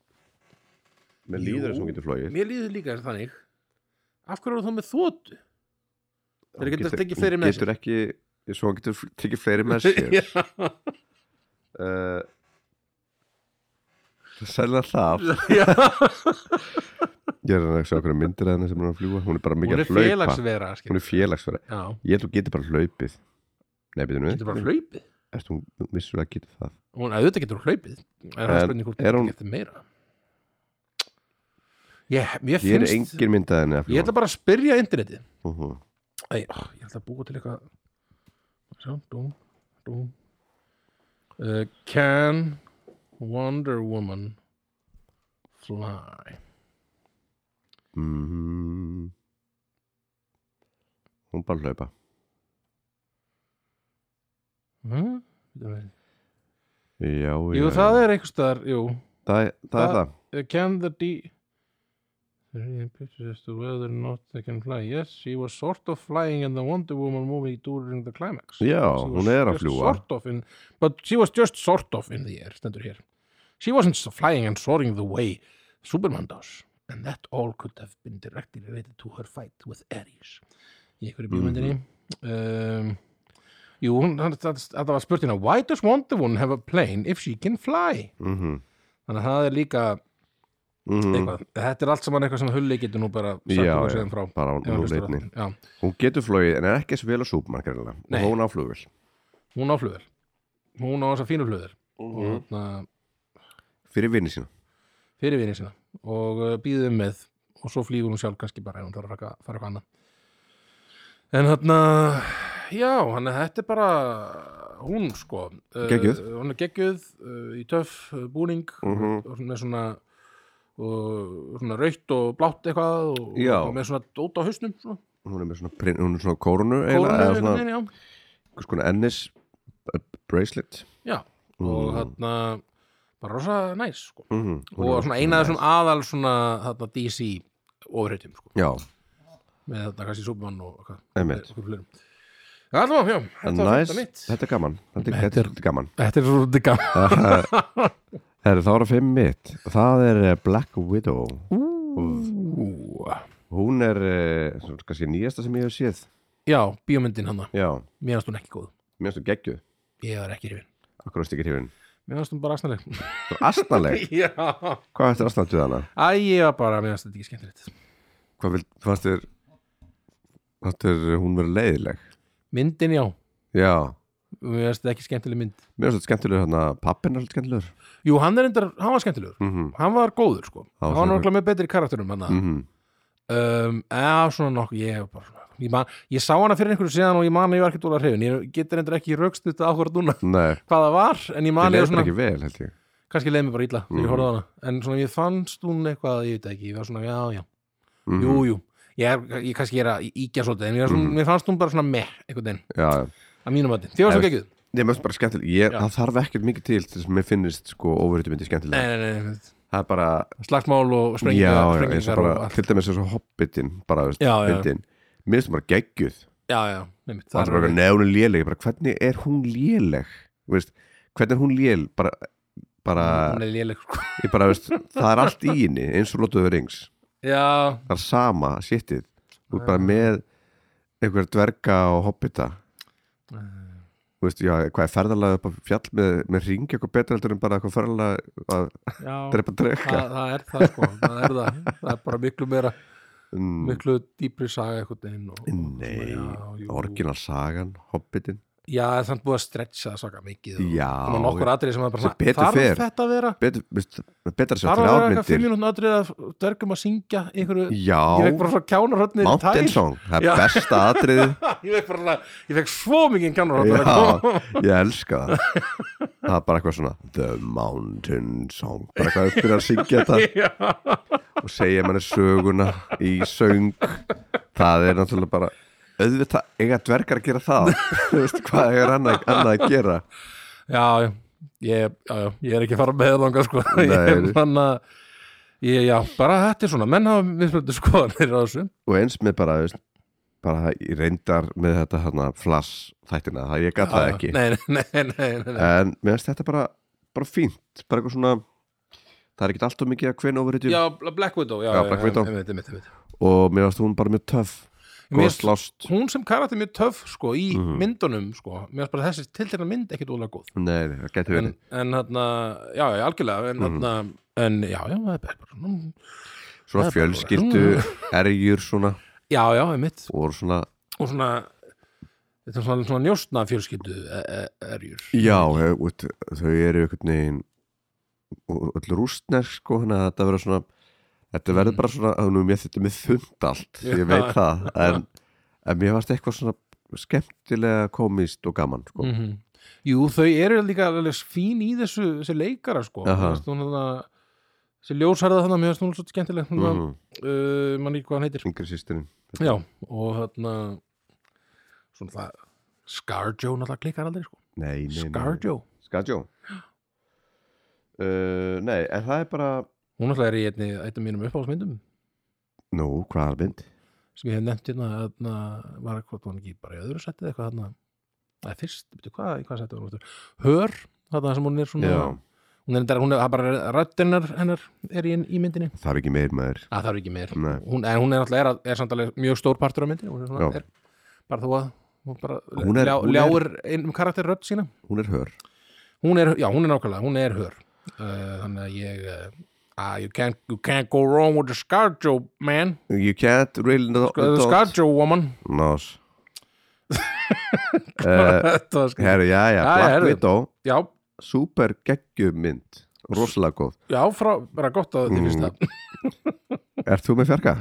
með líður
Jú.
þess að hún getur flóið
mér líður líka þannig af hverju eru þú með þótu Þeir
Hún
geta
getur-
tekið
hún
fleiri með sér.
getur ekki, svo hún getur fl- tekið fleiri með sér uh, Sæla það
Já,
Ég er að sjá hverju myndir að henni sem hún er að fljúa Hún er bara mikið
hún
að
er
hlaupa
félagsvera skil.
Hún er félagsverð
Já,
Ég held að hún getur bara hlaupið Nei, byrjum
getur bara
við
hlaupið
Erst hún vissur að geta það
Hún, auðvitað getur hún hlaupið En það er
En
spurning hvort
er
hún
hún-
getur meira Ég, mér
Ég er
finnst
engin mynd að henni að
Ég
fljúa
ætla bara að spyrja internetið
uh -huh.
Æ, ó, ég ætla að búa til eitthvað Sjá, dú, dú uh, Can Wonder Woman Fly
mm Hún bara hlaupa
huh? Jú,
Já, já
Hm? það er einhvers staðar Jú,
það, er- það er
Það-
það
uh, can the D Three pictures as to whether or not they can fly Yes, she was sort of flying in the Wonder Woman movie during the climax
Já,
She was
hún er að
just
fljúa
sort of in, but she was just sort of in the air stendur hér she wasn't so flying and soaring the way Superman does and that all could have been directly related to her fight with Ares í einhverju
Mhm.
bíómyndinni um, jú, hún- hann- það það var spurt hérna why does Wonder Woman have a plane if she can fly
mm -hmm.
þannig að það er líka
Mm
eitthvað, þetta er allt saman eitthvað sem hulli getur nú bara sagt
Já,
okkur
já.
síðan frá
Bara
ef hann
nú
hlustar á
leitni
þetta. Já,
Hún getur flóið en er ekki svo vel á súpmann greinlega Og
Nei.
hún á flugvel
hún á flugður hún á þessa fínu flugður
Mhm.
og þarna
Fyrir vinni sína
fyrir vinið sína og uh, býðið um með og svo flýgur hún sjálf kannski bara ef hún þarf að fara, fara eitthvað annað en þarna já, hann er þetta er bara hún sko uh,
Geggjuð.
hún er geggjuð uh, í töff uh, búning
Mhm.
og með svona og svona rautt og blátt eitthvað og,
Já.
og með svona dót á hausnum svona,
Hún er með svona, prin, hún er svona kórunu
kórónu
eða
einhvern
svona
veginn, já.
einhvers konar ennis uh, bracelet
Já. og þarna bara rosa næs sko.
mm -hmm.
og svona eina af þessum aðal svona þarna DC ofurheitum sko
já,
með þetta kannski Superman og hvað
Einmitt.
okkur fleirum Já, allavega, já,
en
þetta var
næs,
þetta mitt
þetta er gaman þetta er,
Þetta
þetta
er-
er, þetta er gaman
Þetta er svo digga
Herru, þá er að fimm mitt það er eh, Black Widow hún er, eh, svona kannski nýjasta sem ég hef séð
Já, bíómyndin hana,
já,
mér finnst hún ekki góð
mér finnst þú geggjuð
Ég var ekki hrifin
akkur á stikir hifin,
Mér finnst hún bara asnaleg
þú er astnaleg
Já
hvað eftir astnaleg til hana?
Æ, ég var bara, mér finnst þetta ekki skemmtilegt
hvað vil, fannst þér fannst þér eh, hún verið leiðileg
Myndin, já,
já,
mér finnst þetta ekki skemmtileg mynd
mér finnst þetta skemmtilegur hérna, pappin er svolítið skemmtilegur
Jú, hann er endar, hann var skemmtilegur
mhm
Hann var góður, sko
Það var
Hann var
svona-
náttúrulega með betri karakterum hana
mhm
um, eða svona nokkuð ég, hef bara, svona- ég, man, ég sá hana fyrir einhverju síðan og ég man að ég var ekki dólar hrifin Ég getur endur ekki rögst þetta ákvörð núna
Nei,
hvað það var en ég
það
man ég
leður
var svona,
ekki vel held ég
kannski leiði mér bara illa þegar
Mhm.
ég horfði á hana, en svona ég fannst hún eitthvað, ég veit ekki, ég var svona, já, já
mm
jú, jú, ég, er, ég kannski er að íkja svolítið, en ég var svona,
Mhm.
mér fannst hún bara svona meh, einhvern veginn,
Já, já
að mínum að þið var svo
Nei,
gekkið,
Nei, mér finnst bara skemmtileg ég,
Já.
Það þarf ekkert mikið til til þess að mér finnist sko ofurhýttu myndi
nei,
skemmtileg
nei, nei, nei
Það er bara,
slagsmál og
já,
sprengingar,
já, eins og
sprengingar og
bara
allt
til dæmis eins og hobbitin bara, veist,
Já, já.
myndin Mér finnst hún bara geggjuð
já, já, nefnt,
Það er bara, nei, hún er léleg Ég bara, Hvernig er hún léleg? Þú Veist, hvernig er hún lél? Bara, bara,
hún er léleg, sko
ég bara veist Það er allt í henni, eins og lotuðu rings
já,
Það er sama, shitið Þú er bara með einhver dverga og hobbita þú veist, já, hvað er ferðalega upp á fjall með, með ringi eitthvað betra heldur en bara eitthvað ferðalega að
já
drepa drekka
Það, það er það sko, það er það það er bara miklu meira,
mm,
miklu dýpri saga einhvern veginn og, og
Nei,
svona, já, jú.
orginal sagan, hobbitin
já, það er samt búið að stretcha það svaka mikið og-
Já,
og nokkur atrið sem að bara
Sem betur
þarf
fer.
þetta að vera
betur, veist, betra sér
þarf að vera eitthvað fimm
þrjármyndir
mínútin atrið að dörgum að syngja einhverju, ég vekk
já,
bara frá kjánarhötni
Mountain Song það
Já.
er besta atriðið
ég vekk bara, ég vekk svo mikið
Já,
kjánarhötni
ég elska það Það er bara eitthvað svona The Mountain Song bara eitthvað að byrja að syngja þetta
já,
og segja manni söguna í söng það er náttúrulega bara auðvitað eiga dvergar að gera það Þú veist, hvað er annað, annað að gera
já, já, ég, já, já, ég er ekki að fara með langa sko
Nei.
þannig að Ég, já, bara þetta er svona, menn hafa mismöndu skoðanir á þessu.
og eins með bara, þú veist, bara í reyndar með þetta hana, flass þættina, það ég gat það
Já,
ekki
Ah, Nei, nei, nei, nei, nei, nei.
en mér finnst þetta bara, bara fínt bara eitthvað svona það er ekkert alltaf mikið að kveina over
Já, Black Widow, já,
Já, Black Widow.
Einmitt, einmitt, einmitt.
og mér finnst hún bara mjög töff góð
Mér finnst-
slást
hún sem karakter mjög töff sko í
Mhm.
myndunum sko mér finnst bara þessi tiltegna mynd ekkit ólega góð
Nei, nei, það getur
en,
verið
en hérna, já, já, algjörlega
Mhm.
en hérna, en já, já, það er bara svona-
Svona
það er bara- Mm.
fjölskyldu, erjur svona
já, já, einmitt
og svona,
og svona, þetta er svona, svona njóstna fjölskyldu e- e- erjur
já, eh, út- þau eru einhvern veginn og öll rústner sko, þannig að þetta verður svona þetta verður bara svona, að nú mér þetta með þund allt,
Já.
ég veit það en, en mér varst eitthvað svona skemmtilega komist og gaman sko.
mm jú, þau eru líka alveg fín í þessu, þessi leikara sko
Aha.
Mér finnst hún þarna- þessi ljósarða þannig, mér finnst hún svo skemmtileg
mm
mm. uh, mann ekki hvað hann heitir
yngri sýstirinn
Já, og þarna svona það Scarjo náttúrulega klikkar aldrei sko
Nei, nei, nei
Scarjo,
Skarjó uh, Nei, en það er bara
hún náttúrulega er í einni eitt af mínum uppáhalsmyndum
Nú, hvað er mynd?
sem ég hef nefnt hérna þarna var eitthvað hann ekki bara í öðru settið eitthvað þarna það er fyrst, betur hvað, í hvað settið var hún aftur? Hör, þarna sem hún er svona
Já.
hún er, hún er, hún er bara röddennar hennar er í, í myndinni
Það er ekki meir maður
að það er ekki meir
Nei.
hún, en hún er náttúrulega er, að- er samt alveg mjög stór partur af myndinni hún er
Já.
svona, er, bara þú að hún bara
Hún er-
ljá,
hún er-
ljáir einum karakter rödd sína
Hún er hör
hún er, já, hún er nákvæmlega, hún er hör uh, þannig að ég uh, ah, you, can't, you can't go wrong with the Scarjo man,
You can't really not,
the Scarjo woman
Nás uh,
þetta var skar
Herru, já, já,
Já, já,
Black
heyrðu.
Widow
já,
Super geggjumynd Rosalega góð
já, frá, bara gott að
Mm.
þið finnst það
Ert þú með fjarka?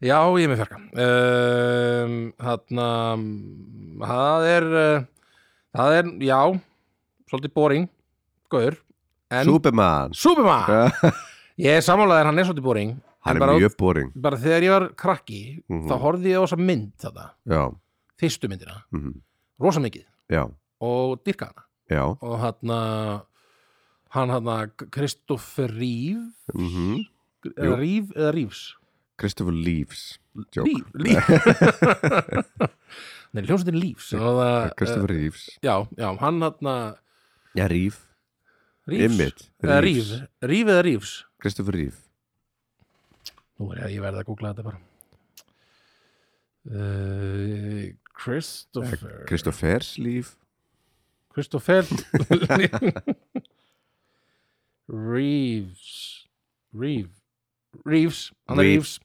já, ég er með fjarka um, þarna mm, það er uh, það er, já svolítið boring, góður en
Superman
Superman,
Eh,
ég er samanlegaður hann er svolítið boring
Hann er
en bara,
mjög boring
bara þegar ég var krakki
Mhm.
þá horfði ég á þessa mynd þetta,
Já,
fyrstu myndina
mhm,
rosa mikið
já,
og dyrka hana
já
og hann hann hann Kristoffer Ríf
mhm. Jú.
eða Ríf eða Rífs
Christopher Leaves joke.
Ríf, Ríf Nei, hljómsveitin Lífs og það,
Christopher Reeves
eh, já, já, hann hann
Já, Reeve
Rífs
Einmitt,
eða Ríf,
Reeves.
Ríf eða Rífs
Christopher Reeve
Nú er ég, ég verði að googla þetta bara Uh,
Eh,
Christopher
Christophers Reeve
Christopher Reeves Reeves Reeves, hann er
Reeves.
Reeves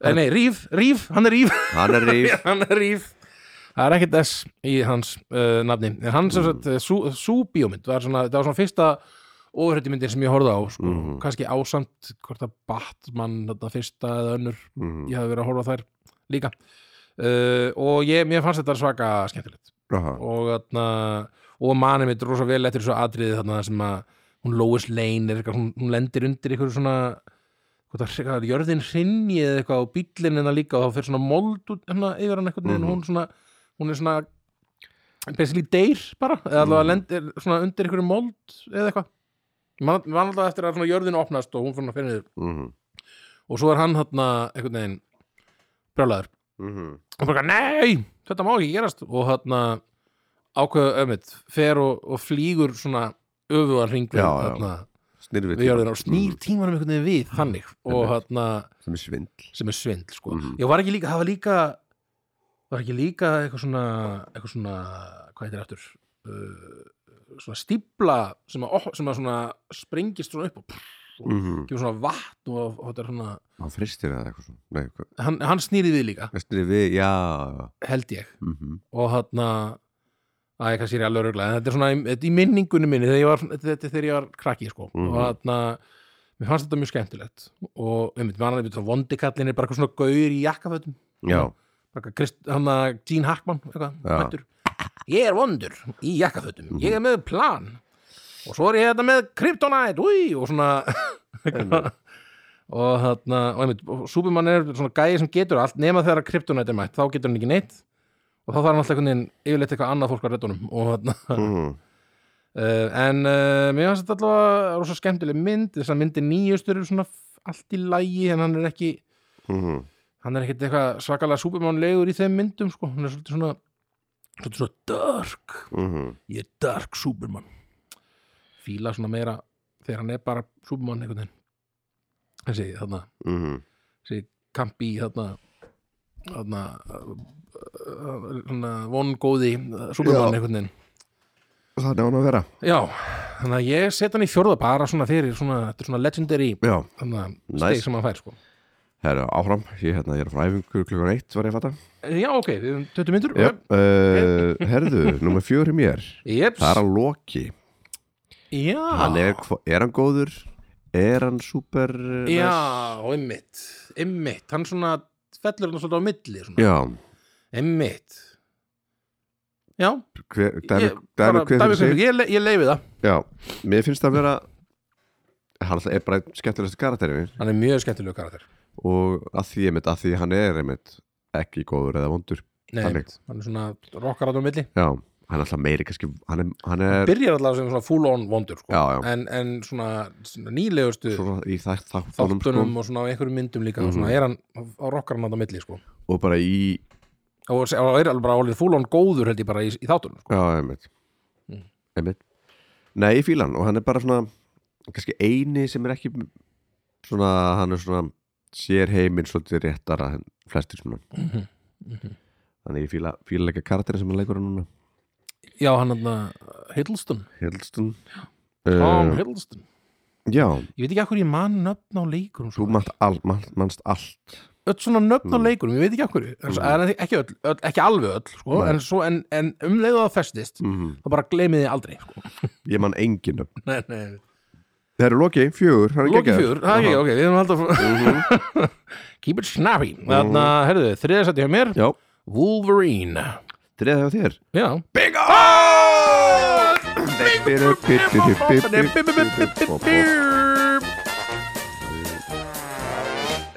Eh, Nei, Reeve, Reeve, hann er Reeve
Hann er Reeve
hann er Reeve Það er ekkert S í hans uh, nafni en hann sem sagt, eh, sú, sú bíómynd var svona, það var svona fyrsta ofrættimyndin sem ég horfði á, sko,
Mhm.
kannski ásamt hvort að Batman, þetta fyrsta eða önnur,
Mhm.
ég hafði verið að horfa á þær líka uh, og ég, mér fannst þetta svaka skemmtilegt
Aha.
og, atna, og manið mitt rosa vel eftir þessu atriði þarna sem að hún Lois Lane er eitthvað, hún, hún lendir undir eitthvað svona hvað það, hvað það, er, jörðin hrinni eða eitthvað og bíllinn hennar líka og þá fyrir svona mold út hérna yfir hann eitthvað mm
Mhm.
hún, svona, hún er svona basically deyr bara eða allavega lendir svona undir eitthvað mold eða eitthvað Man, man alltaf eftir að svona jörðin opnast og hún fyrir að finna niður
Mhm.
og svo er hann þarna einhvern veginn brjálæður
Mhm.
og bara, nei, þetta má ekki gerast og hérna ákveðu ömmit, fer og, og flýgur svona öfugan ringveg
Já, Mm. já.
hérna,
Snýrvið
við jörðina og snýr tímanum einhvern veginn við þannig og
Mhm.
hérna,
Sem er svindl
sem er svindl sko.
Mhm.
ég var ekki líka, það var líka var ekki líka eitthvað svona eitthvað svona, hvað heitir aftur uh, svona stípla sem að, op- sem að svona springist svona upp og og
mm -hmm.
gefur svona vatn og, og þetta er svona,
hann fristir eða eitthvað svona nei, hvað,
hann, hann snýri við líka
veistir við, já
held ég
mm
og hann að ég kannski er ég alveg öruglega en þetta er svona í, þetta er í minningunni minni þegar ég var, þetta er þegar ég var krakki sko.
Mhm.
og hann mér fannst þetta mjög skemmtilegt og einmitt, man, einmitt, vondikallin er bara eitthvað svona gaur í jakkafötum
já,
Bara eitthvað Krist- hann að Gene Hackman eitthvað,
Já.
mættur. ég er vondur í jakkafötum ég er með plan og svo er ég þetta með kryptonite új, og svona eitthvað. og þarna og einmitt, og Superman er svona gæði sem getur allt nema þegar að kryptonite er mætt, þá getur hann ekki neitt og þá þarf hann alltaf einhvern veginn yfirleitt eitthvað annað fólk að reddunum og þarna
mm,
Uh, en uh, mér finnst þetta allavega rosa skemmtileg mynd, þess að myndi nýjustur eru svona f- allt í lægi en hann er ekki
mm,
hann er ekkert eitthvað svakalega supermánlegur í þeim myndum sko, hann er svolítið svona svolítið svona dark
mm,
ég er dark superman fíla svona meira þegar hann er bara superman einhvern veginn þessi þarna,
mm,
þessi kampi þarna þarna uh, uh, svona vongóði uh, superman
Já.
einhvern veginn
það er án að vera
Já, þannig að ég set hann í fjórða bara svona fyrir svona, þetta er svona legendary
já,
þannig að
Nice.
steg sem hann fær sko
herra, áfram, ég, hérna, ég er frá æfingu klukkan eitt var ég að fatta
Já, ok, við höfum 20 myndur
já, uh, herðu, nummer fjóri mér
Jeps,
það er að Loki
já
hann er, hva- er hann góður er hann super eh,
Já,
næs?
einmitt, einmitt hann svona fellur hann svolítið á milli svona.
já
einmitt Já,
hver,
ég,
dæmi, dæmi, hver fyrir sig
ég, ég, le- ég leifi það
já, mér finnst það að vera hann alltaf er bara skemmtilegast karakterinn
Hann er mjög skemmtilegu karakter
og að því, einmitt, að því hann er einmitt, ekki góður eða vondur
Nei,
Þannig.
einmitt. hann er svona rokkar hann á milli
já, hann er alltaf meiri kannski hann er, hann er
Byrjar allavega sem svona full on vondur sko.
Já, já.
En, en svona, svona nýlegustu
svona í þætt þáttunum sko, Mhm.
þáttunum og svona á einhverjum myndum líka og svona er hann á rokkar hann á milli sko.
og bara í
og s- og er alveg bara alveg fúlón góður held ég bara í, í þáttunum sko.
já, einmitt, Mm. einmitt. nei, ég fíla hann og hann er bara svona kannski eini sem er ekki svona, hann er svona sér heiminn svolítið réttara en flestir svona mhm. þannig ég fíla, fíla leika karakterin sem hann leikur hann núna
já hann hann Hiddleston
Hiddleston
Tom
uh,
Hiddleston
já,
ég veit ekki af hverju ég man nöfn á leikurum
þú
sko.
manst all, man, manst allt
öll svona
Mm.
nöfn á leikurum, ég veit ekki af hverju en, svo, en ekki, öll, öll, ekki alveg öll sko,
Nei. Mhm.
en, svo, en, en um leiðu það festist þá bara gleymið þið aldrei sko.
ég man engin nöfn
nei, nei.
Það eru Loki, fjögur, hann er
Loki
geggjaður.
fjör, það er ekki, ok, við erum alltaf
Mhm.
keep it snappy þannig að, herðu, þriðasætti hjá mér
Já,
Wolverine
þriðið hjá þér
já,
Bingo!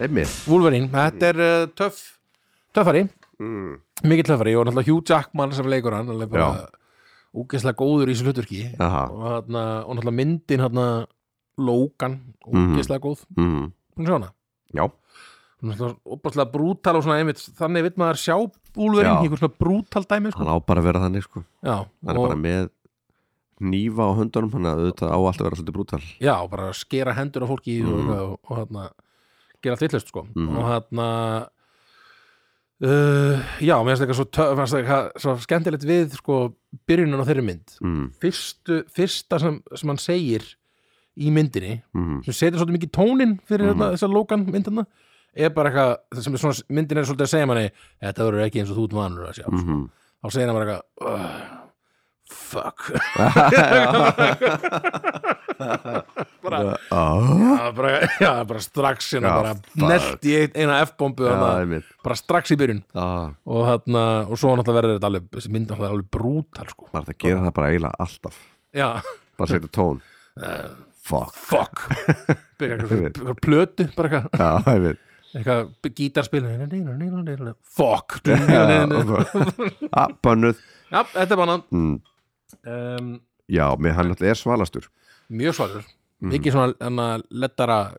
Emmi
Wolverine, þetta er uh, töff töffari,
mm.
mikið töffari og náttúrulega Hugh Jackman sem leikur hann hann er bara
Já.
úkesslega góður í þessu hlutverki
Aha.
og, hana, og náttúrulega myndin hana, Logan, úkesslega góð
Mm.
hún sjá hana
Já,
hún er náttúrulega opaslega brútal og svona einmitt þannig vill maður sjá Wolverine
Já.
í einhver svona brútal dæmi sko.
hann á bara að vera þannig sko
já,
Hann er
og,
bara með nýfa á höndunum hann auðvitað á allt að vera svolítið brútal
já, bara skera hendur á fólki
Mhm.
og, og, og hana, gera allt villust sko. og hana uh, já, mér finnst eitthvað svo, töff- mér finnst eitthvað svo skemmtilegt við sko, byrjunum á þeirri mynd
mm.
fyrstu, fyrsta sem, sem hann segir í myndinni
mm.
sem setur svolítið mikið tónin
Mhm.
fyrir mm. þessa Logan myndina er bara eitthvað, það sem er svona, myndin er svolítið að segja manni þetta verður ekki eins og þú ert vanur að sjá mm
Mhm.
þá segir hann bara eitthvað "Ugh, fuck bara,
Ah,
já, bara, já, bara strax hérna,
Já,
bara
fuck.
nelt í ein- eina F-bombu
Já,
þarna,
einmitt
bara strax í byrjun
ah,
og, þarna, og svo náttúrulega verður þetta alveg þessi mynd náttúrulega alveg brútal sko.
Maður það gera það bara eiginlega alltaf
já,
Bara setja tón Fuck
fuck byrja eitthvað eitthvað plötu bara eitthvað
Já, einmitt
eitthvað gítarspil fuck
Ah, Bönnuð
já, þetta er bara
Mm.
um,
Já, með hann alltaf er svalastur
mjög svarur
Mhm.
mikið svona hana, lettara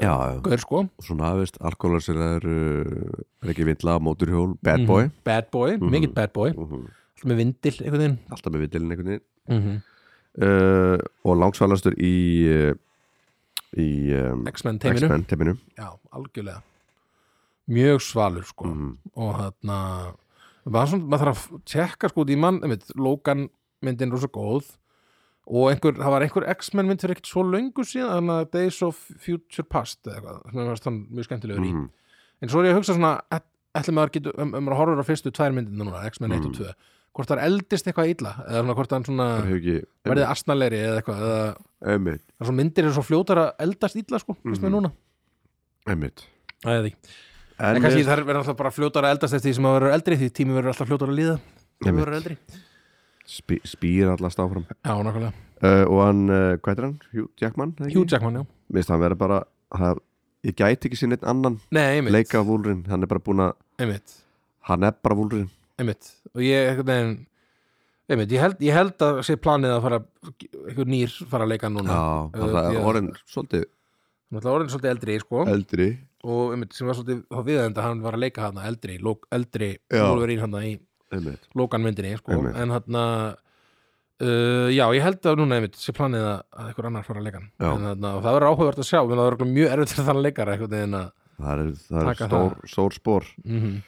Já, já
gaur sko
svona veist, alkoholar sem er uh, ekki vindla, móturhjól, bad boy
bad boy,
Mhm.
mikið bad boy alltaf með vindil einhvern veginn
alltaf með vindilin einhvern veginn
mm
Mhm. uh, og langsvalastur í uh, í um,
X-Men teiminu
X-Men teiminu
já, algjörlega mjög svalur sko
Mhm.
og þarna maður, svona, maður þarf að tjekka sko út í mann einmitt, Logan myndin er rosa góð og einhver, það var einhver X-Men mynd fyrir ekkert svo löngu síðan þannig að Days of Future Past eða eitthvað, sem var þann mjög skemmtilegur í
Mhm.
en svo er ég að hugsa svona ætlum maður getur, um, um maður horfur á fyrstu tvær myndina núna X-Men 1
Mhm.
og 2, hvort það er eldist eitthvað illa eða svona, hvort hann svona
Það hefur ekki
verðið asnalegri eða eitthvað eða,
Emmitt,
það er svo myndir er svo fljótar að eldast illa sko, finnst mér
Mhm.
núna
emmitt
Það er því. En kannski það verður alltaf bara fljótar að eldast eftir því sem að verður eldri því tími verður alltaf fljótar að líða þegar maður
Einmitt.
verður eldri
spý, spýr allast áfram
Já, nákvæmlega
uh, og hann, uh, hvað er hann? Hugh Jackman? eða ekki?
Hugh Jackman, já
Mér finnst hann vera bara það, ég gæti ekki sinni einn annan
Nei, einmitt
leika af vúlurinn, hann er bara búin að
Einmitt
hann er bara vúlurinn
einmitt og ég einhvern veginn einmitt, ég held, ég held að sé planið að fara einhver nýr fara að leika núna
Já,
Uh,
það er
ég-
orðin svolítið
náttúrulega orðin svolítið eldri sko
eldri
og einmitt sem var svolítið á viðenda hann var að leika hann eldri, lók, eldri
Já.
Wolverine hann í
Einmitt.
lókanmyndinni sko
Einmitt.
en hann Uh, já, ég held að núna einmitt sé planið að, að einhver annar fara að leika hann
Já.
en, þarna, og það verður áhugavert að sjá menn það verður mjög erfitt fyrir þann leikara einhvern veginn að
Það er, það er
Taka
stór, stór spór
mm -hmm.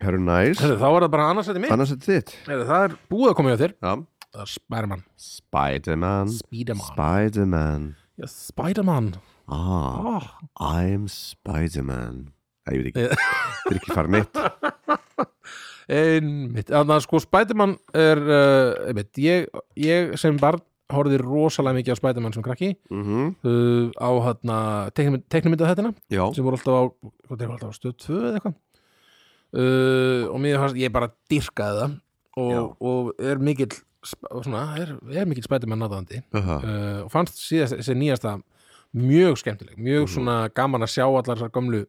Herru næs,
þá er það bara annars þetta mitt
annars er þitt
Heyrðu, það er búið að koma hjá þér
Já.
Það er Spiderman
Spiderman
Spiderman
Spiderman
Já, Spiderman
ah,
oh.
I'm Spiderman Nei, ég veit
Já.
ekki, þetta er ekki farið mitt
Einmitt, þannig að sko Spiderman er, uh, einmitt, ég, ég sem barn horfði rosalega mikið á Spiderman sem krakki
mm
uh, á hérna teknumynda þettina
Já,
sem voru alltaf á, hvað þeir voru alltaf á stöð 2 eða eitthvað uh, og mér fannst, ég bara dyrkaði það
Já.
og, og er mikill sp- svona, er, er mikill Spiderman náttúruandi
Aha.
uh, og fannst síðast þessi nýjasta mjög skemmtileg, mjög
Mhm.
svona gaman að sjá allar þessar gömlu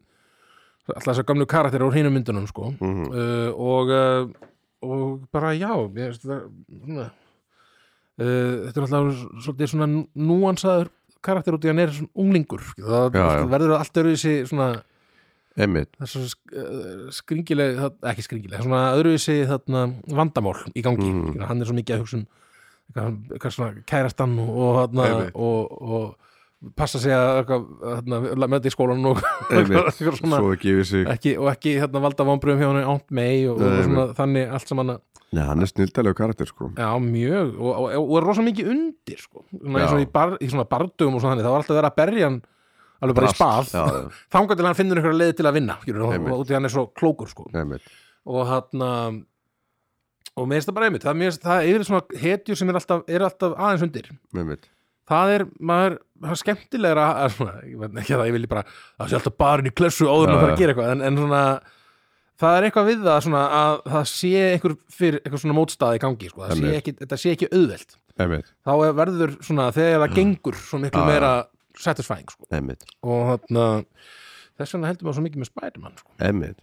allar þessar gömlu karakter úr hinum myndunum sko
Mhm.
uh, og uh, og bara já ég, veist, það, svona, uh, þetta er alltaf svolítið svona núansaður karakter út í að hann er svona unglingur það
Já, já.
verður allt öðruvísi svona
Einmitt
þessu uh, skringileg það- ekki skringileg, svona öðruvísi þarna, vandamál í gangi
Mhm.
hann er svo mikið að hugsa um eitthvað, eitthvað svona kærastan og, og, þarna,
Einmitt.
og, og passa sig að eitthvað, þarna, með þetta í skólan og,
Einmitt,
eitthvað svona,
svo ekki við sig
ekki, og ekki þarna, valda vombriðum hjá hann ánt mei og, og
Nei,
svona, þannig allt saman að
Nei, hann er snildalega karakter sko
Já, mjög, og, og, og er rosa mikið undir sko. svona, í,
Já.
svona, í, bar, í svona bardugum og svona þannig, það var alltaf verið að berja hann alveg bara í
Drast.
spað
Já, já.
þangar til hann finnur einhverja leið til að vinna skilur, og,
Einmitt.
og út í hann er svo klókur sko.
Einmitt
og hann og mér finnst það bara einmitt það, mér finnst, það er yfir svona hetjur sem er alltaf, er alltaf aðeins undir
Einmitt
það er, maður, það er skemmtilegra að, svona, ég veit ekki að það, ég vilji bara það sé alltaf barinn í klessu áður en
Já,
að fara
já.
að gera eitthvað en, en svona, það er eitthvað við það svona, að það sé einhver fyrir eitthvað svona mótstaði í gangi, sko, það sé
Einmitt.
ekki, þetta sé ekki auðvelt
Einmitt
þá er- verður svona, þegar það gengur svo miklu
Mm. Já, já.
meira satisfying, sko
Einmitt
og þarna, þess vegna heldur maður svo mikið með Spiderman, sko
Einmitt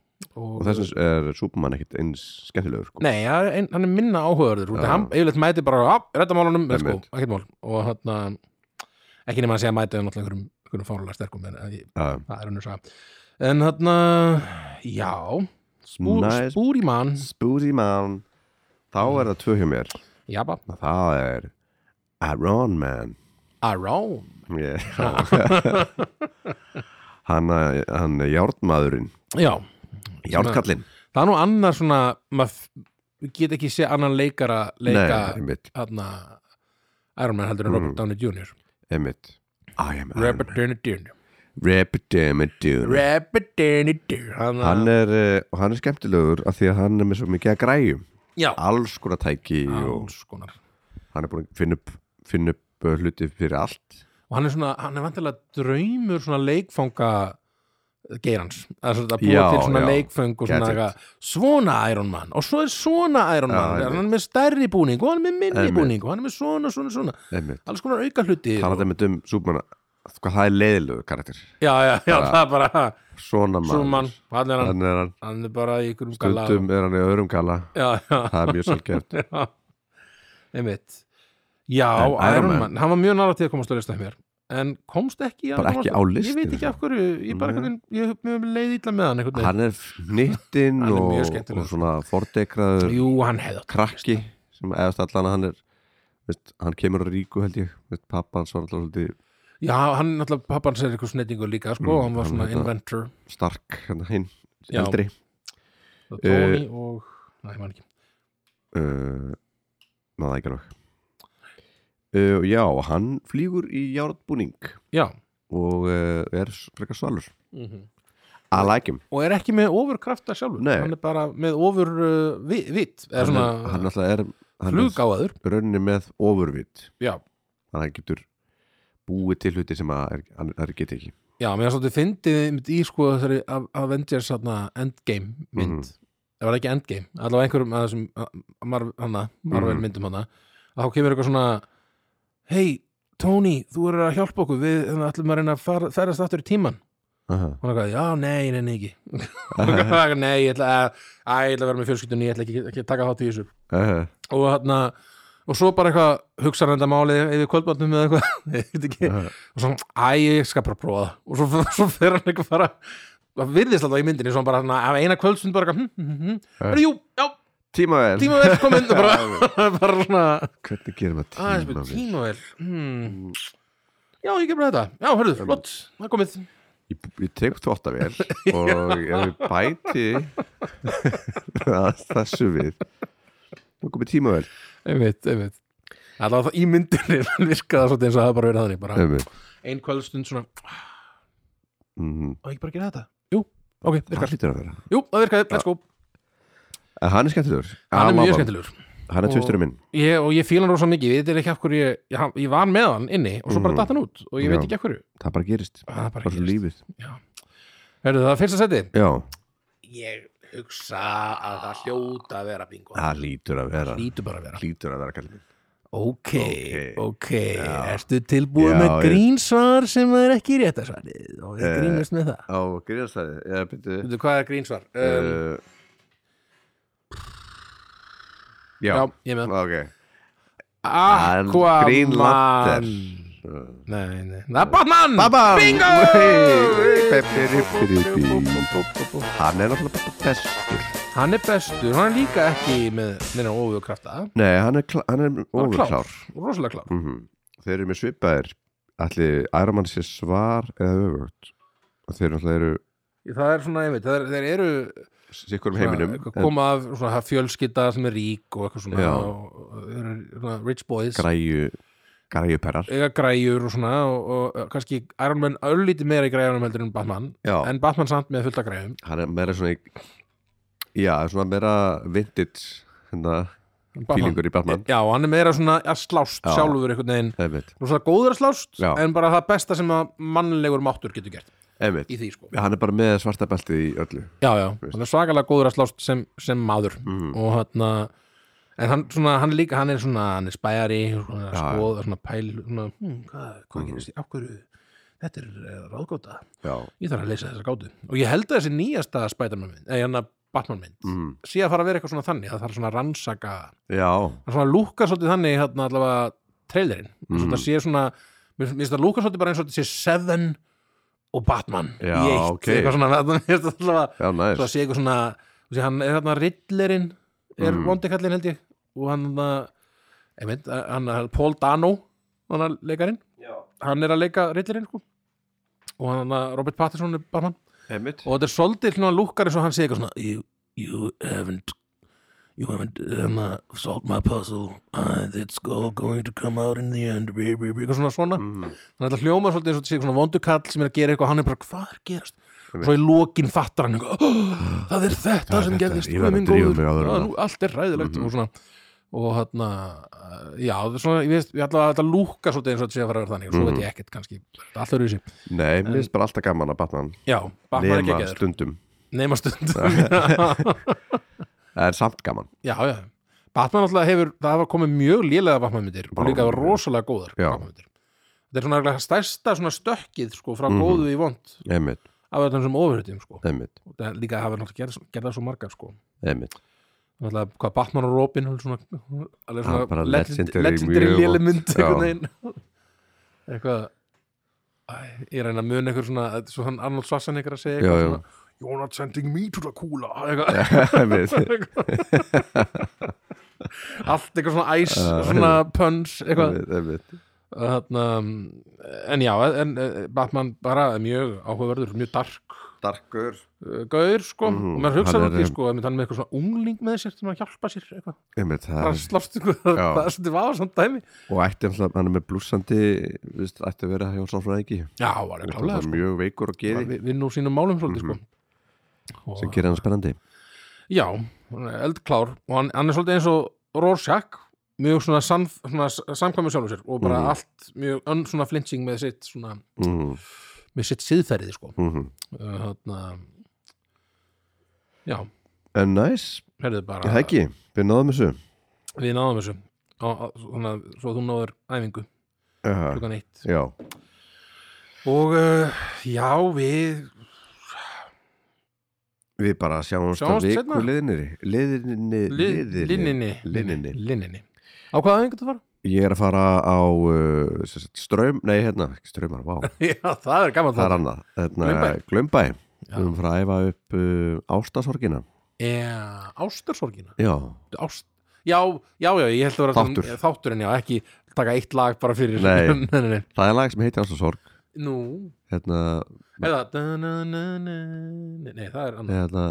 Og
og,
þess vegna er Superman ekkit eins skemmtilegur sko
Nei, hann er- hann er minna áhugaður út af
Já.
hann yfirleitt mæti bara á réttamálunum sko,
Einmitt.
ekkert mál og hann ekki nema að segja mæti hann náttúrulega einhverjum, einhverjum fárulega sterkum en en ég-
Já.
það er hann þess að en hann já spú,
Nice.
Spúrimann
Spoozy Man Þá er það tvö hjá mér
Jabba
Það er Iron Man
Arón
yeah. Hann eh, Hann er járnmaðurinn
Já,
Járnkallinn
það er nú annar svona maður get ekki sé annan leikara
Nei,
leika
einmitt,
hann Iron Man heldur en Robert Downey Jr.
einmitt I am Iron Man
Robert Downey Jr.
Robert Downey Jr.
Robert Downey Jr.
Hann
Hann,
er, eh, og hann er skemmtilegur af því að hann er með svo mikið að græjum
já,
alls konar tæki og
alls konar
hann er búin að finna upp, finna upp uh, hluti fyrir allt
og hann er svona, hann er vantilega draumur svona leikfanga geirans, að, svona, að búa
Já,
til svona
já.
leikföng og
Get
svona
it.
eitthvað svona Iron Man og svo er svona Iron
Já,
Man,
einmitt.
hann er með stærri búning og hann er með minni
Einmitt.
búning og hann er með svona, svona, svona
einmitt,
alls konar auka hluti og,
talaði með um Súbmann hvað það er leiðilegu karakter
já, já, já, það er bara ha,
svona mann,
svona mann, hann er hann
Þannig er hann,
hann er bara í einhverjum gala og-
stundum er hann í öðrum kalla
já, já,
það er mjög sjálfgeft
já, einmitt já,
En
Iron,
Iron
Man.
Man.
hann var mjög nálægt til að komast á lista hjá mér en komst ekki í
Bara
annan
ekki
lista.
á listin,
ég veit ekki af hverju, ég bara
Nei.
einhvern veginn ég mér leið illa með hann einhvern veginn
hann er fnittinn
Hann er
og,
mjög skemmtilegur.
og svona fordekraður
Jú, hann hefði átt að
krakki sem eðast allan að hann er veist, hann kemur á ríku held ég veist, pappa hans var alltaf svolítið
gera. Já, hann náttúrulega, pappan sér eitthvað snettingu líka sko,
Mm,
hann var
hann
svona
þetta-
inventor
stark hann hinn,
Já.
eldri
það
Eh,
Tony og, næ, ég man ekki
Eh, uh, maður það ekki alveg uh, já, hann flýgur í járnbúning
já
og uh, er s- frekar svalur
mm
I like him
og er ekki með ofurkrafta sjálfur
Nei.
hann er bara með ofur uh, vi- vitt eða
hann,
svona
er, hann alltaf er hann
fluggáður
er rauninni með ofurvit
já,
þannig að hann getur búið til hluti sem að er, hann, hann getur ekki
já, mér er svolítið fyndið einmitt í sko þessari Av- Avengers hana, Endgame
Mhm.
mynd það var ekki Endgame, allavega einhverjum að þessum að- að Marvel- hana, Marvel
Mhm.
myndum hana að þá kemur eitthvað svona hei, Tony, þú er að hjálpa okkur við hérna, ætlum að reyna að fara- ferðast aftur í tíman
Aha.
og hann er eitthvað, já, nei, nei, nei, ekki nei, ég ætla að, að, ég ætla að vera með fjölskyldunni, ég ætla ekki, ekki að taka þátt í þessu
Aha.
og hann og svo bara eitthvað hugsa hann þetta máli yfir kvöldbátnum eða eitthvað ég veit ekki,
Aha.
og svo, æ, ég skal bara prófa það og svo, svo fer hann eitthvað bara það virðist alltaf í myndinni, svo hann bara hann, af eina kvöldstund bara eitthvað, hm, hm, hm, er, jú, já,
tímavel
tímavel kom inn og bara, bara svona,
hvernig gerum við
aðeins með
tímavel
tímavel hmm. já, ég ger bara þetta já, hörðu, flott, það er komið
ég, ég tek þvóttavél og ef ég bæti að þessu við nú komið tímavel
einmitt, einmitt Allá, í myndinni virkaði það svolítið eins og það hafi bara verið þannig bara
um,
ein kvöldstund svona,
mm,
og ekki bara að gera þetta jú, ok, virkar,
það hlýtur að vera
jú, það virkaði, let's go
en Eh, hann er skemmtilegur
hann er
Alaba.
mjög skemmtilegur
hann er tvisturinn minn
ég, og ég fíla hann rosa mikið, ég veit ekki af hverju ég, ég, hann- ég var með hann inni og svo bara
Mhm.
datt hann út og ég veit
Já.
ekki af hverju
það bara gerist
Það bara
svo
gerist.
lífið
Herðu það fyrsta seti?
já
Ég hugsa að það hljóta að vera bingo
það hlýtur að vera
Lítur bara að vera
hlýtur að vera kallið minn
Ok, ok,
Ok.
ertu tilbúið
Já,
með
ég-
grínsvar sem er ekki réttasvarið og við
Eh,
grínast með það
á gríðastæði ég byrju
Veitu hvað er grínsvar? Um,
uh,
já.
já
ég með það
ok Hann-
Aquaman
Green Lantern
Nei, nei, það er Batman
Baba
Bingo
Hann er náttúrulega bestur
Hann er bestur, hann er líka ekki með neina ofukrafta,
Nei, hann er, klá- hann er ofurklár
rosalega klár
mm Þeir eru með svipaðir Ætli Æramann sé svar eða öfugt Og Þeir náttúrulega eru
Það er svona, ég veit, þeir, þeir eru
sikkur um heiminum
eitthvað
en
koma af svona fjölskylda sem er rík og eitthvað svona,
Já.
og, og, þeir eru svona rich boys
Græju Græjuperrar
eiga græjur og svona og, og, og kannski Iron Man örlítið meira í græjunum heldur en Batman
Já,
en Batman samt með fullta græjum
hann er meira svona í- Já, svona meira vintage Hérna, fílingur í Batman
Já, hann er meira svona að slást
Já.
sjálfur einhvern veginn
Einmitt,
Nú svona góður að slást,
Já.
en bara það besta sem að mannlegur máttur getur gert
einmitt
í því sko
Hann er bara með svarta beltið í öllu
já, já, hann er svakalega góður að slást sem, sem maður
Mm.
og hann en hann, svona, hann er líka, hann er svona hann er spæjari,
Já,
svona,
já.
skoða, svona pæl svona, hm, hvað, hvað gerist í ákvörðu þetta er uh, ráðgóta
Já,
ég þarf að leysa þessa gátu og ég held að þessi nýjasta Spiderman mynd, eða hann að Batman mynd
mm.
sé að fara að vera eitthvað svona þannig, það þarf svona að rannsaka
já
hann svona lúkar svolítið þannig hann allavega trailerinn, mm.
Mhm.
svona sé svona mér mér finnst það lúkar svolítið bara eins og þetta sé Seven og Batman í
Já,
eitt,
ok.
eitthvað svona, mér finnst það allavega
Já, næst
svo að sé eitthvað svona þú sé, hann er þarna Riddlerinn er mm.
Mm.
vondikallin held ég og hann þarna einmitt, hann, hann Paul Dano hann er leikarinn hann er að leika Riddlerinn sko og hann þarna Robert Pattinson er bara hann
Einmitt
og þetta er svolítið hljóna lúkkar eins og hann sé eitthvað svona you, you haven't you haven't um, uh, solved my puzzle uh, it's all going to come out in the end brí, brí, brí, eitthvað svona svona
Mhm.
þannig að þetta hljóma svolítið eins og þetta sé eitthvað svona vondukall sem er að gera eitthvað hann er bara hvað er að gerast
Einmitt.
svo í lokin fattar hann eitthvað "Oh, það er þetta
Það er
sem
þetta,
gerðist
ég
guð
var að Mhm.
minn
drífa
góður,
mig áður en
já,
það."
nú, allt er ræðilegt og svona og hann já, það er svona, ég veist, ég ætla að þetta lúka svolítið eins og þetta sé að fara að vera þannig
Mhm.
og svo veit ég ekkert kannski, alltaf eru þessi
Nei, mér finnst bara alltaf gaman að Batman
já, Batman er ekki
Nema stundum
nema stund
Það er samt gaman
já, já Batman alltaf hefur, það hafa komið mjög lélega Batman myndir og líka rosalega góðar
Já.
Batman myndir þetta er svona örugglega stærsta svona stökkið sko,
Mhm.
frá góðu í vond
Einmitt,
af öllum sem ofurhutum sko.
einmitt,
Og það- líka hafa náttúrulega gerð- gerða svo margar sko.
einmitt
Náttúrulega, hvað Batman og Robin alveg svona, alveg
Það er bara
svona
legendary
legendary
mjög
léli
vont.
mynd
Já.
einhvern veginn. eitthvað Æ, ég reyna að muna einhver svona þetta er svo hann Arnold Schwarzenegger að segja eitthvað
Já, já.
svona You're not sending me to the cooler eitthvað
Einmitt
allt eitthvað svona æs
Ah, Já.
svona punch eitthvað
einmitt, einmitt.
Þarna, um, en já, en, eh, Batman bara er mjög áhugaverður, mjög dark
starkur
uh, gaur sko
Mhm.
og maður hugsa
Hann er,
nokki
um,
sko að hann er með eitthvað svona ungling með sér sem að hjálpa sér eitthvað
einmitt, það,
bara
er-
slást ykkur það
Já.
það er svolítið vafa samt dæmi
og ætti náttúrulega- hann er með blúsandi viðst, ætti að vera hjá sáfræðingi
já, var það
Hann
klálega
er
sko
mjög veikur og
Bara
geði
vi- vinn úr sínum málum svolítið
Mhm.
sko og,
sem gerir hann spennandi
já, hann er eldklár og hann, hann er svolítið eins og Rorschach mjög svona, sann- svona samkvæmur sjálfur sér og bara
Mhm.
allt mjög önn svona flinching með sitt svona
mm
með sitt siðferðið sko
-hmm.
uh, hérna já,
en næs,
herðu bara
það ekki við náðum þessu
við náðum þessu á, á, svona, svo þú náður æfingu
Aha,
klukkan eitt
já,
og uh, já við
við bara sjáumst að
Sjáumst
viku
seinna.
liðinni liðinni
li- linninni
Linninni.
linninni á hvaða æfingu þú var?
ég er að fara á uh, sem sagt, ström, nei hérna, ekki strömmar, vá
já, það er gaman
það er annað, hérna,
Glaumbæ.
glömbæ
Já.
við erum frá að æfa upp uh, ástasorgina
Já, ástursorgina
já,
Ást... já, já, já, ég held að vera
Þáttur.
Já, þáttur en já, ekki taka eitt lag bara fyrir
Nei.
nei, nei.
það er lag sem heitir ástasorg
Nú,
hérna,
eða da-na-na-na-na. Nei, það er annað
hérna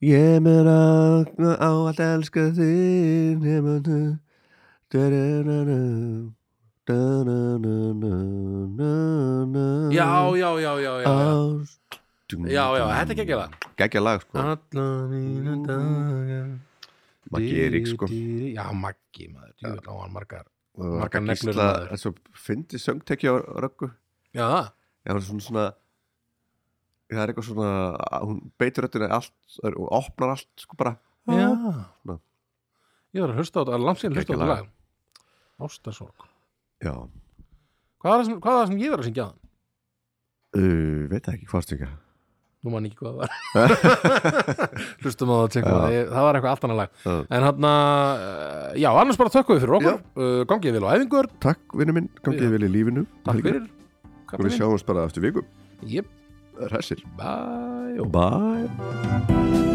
ég mun að á allt elska þín ég mun að da-da-na-na, da-na-na-na-na-na.
Já, já, já, já, já Já,
Ást-
já, já þetta er Ah. ekki ekki
Geggjað lag sko
Alla mína daga
Maggi Eiríks, sko.
Dýri- Já, Maggi, maður, ég veit á hann margar
Og
Margar
Ragga
neglur
Gísla,
maður.
en svo fyndi söngtekki á röggu
Já, það
Já, hún er svona svona Það er eitthvað svona, hún beitur röddina í allt og opnar allt sko bara
Já
Ná.
Ég var að hlusta á þetta, það er langt síðan að hlusta á
Geggjað
þetta
lag.
lag Ástarsorg
Já,
Hvað er það sem, hvað er það sem ég var að syngja á þann?
uh, veit það ekki hvað stynga
Nú man ég ekki hvað það var Hlustum á það að tjekka
Já.
það Ég- Það var eitthvað allt annað lag
Já.
En hann að, já, annars bara þökkum við fyrir okkur uh, Gangið vel á æfingur,
Takk vinnu minn,
Já.
gangið vel í lífinu
takk fyrir
Og við sjáumst bara eftir viku
Jep,
Ræsir
bæjó
Bye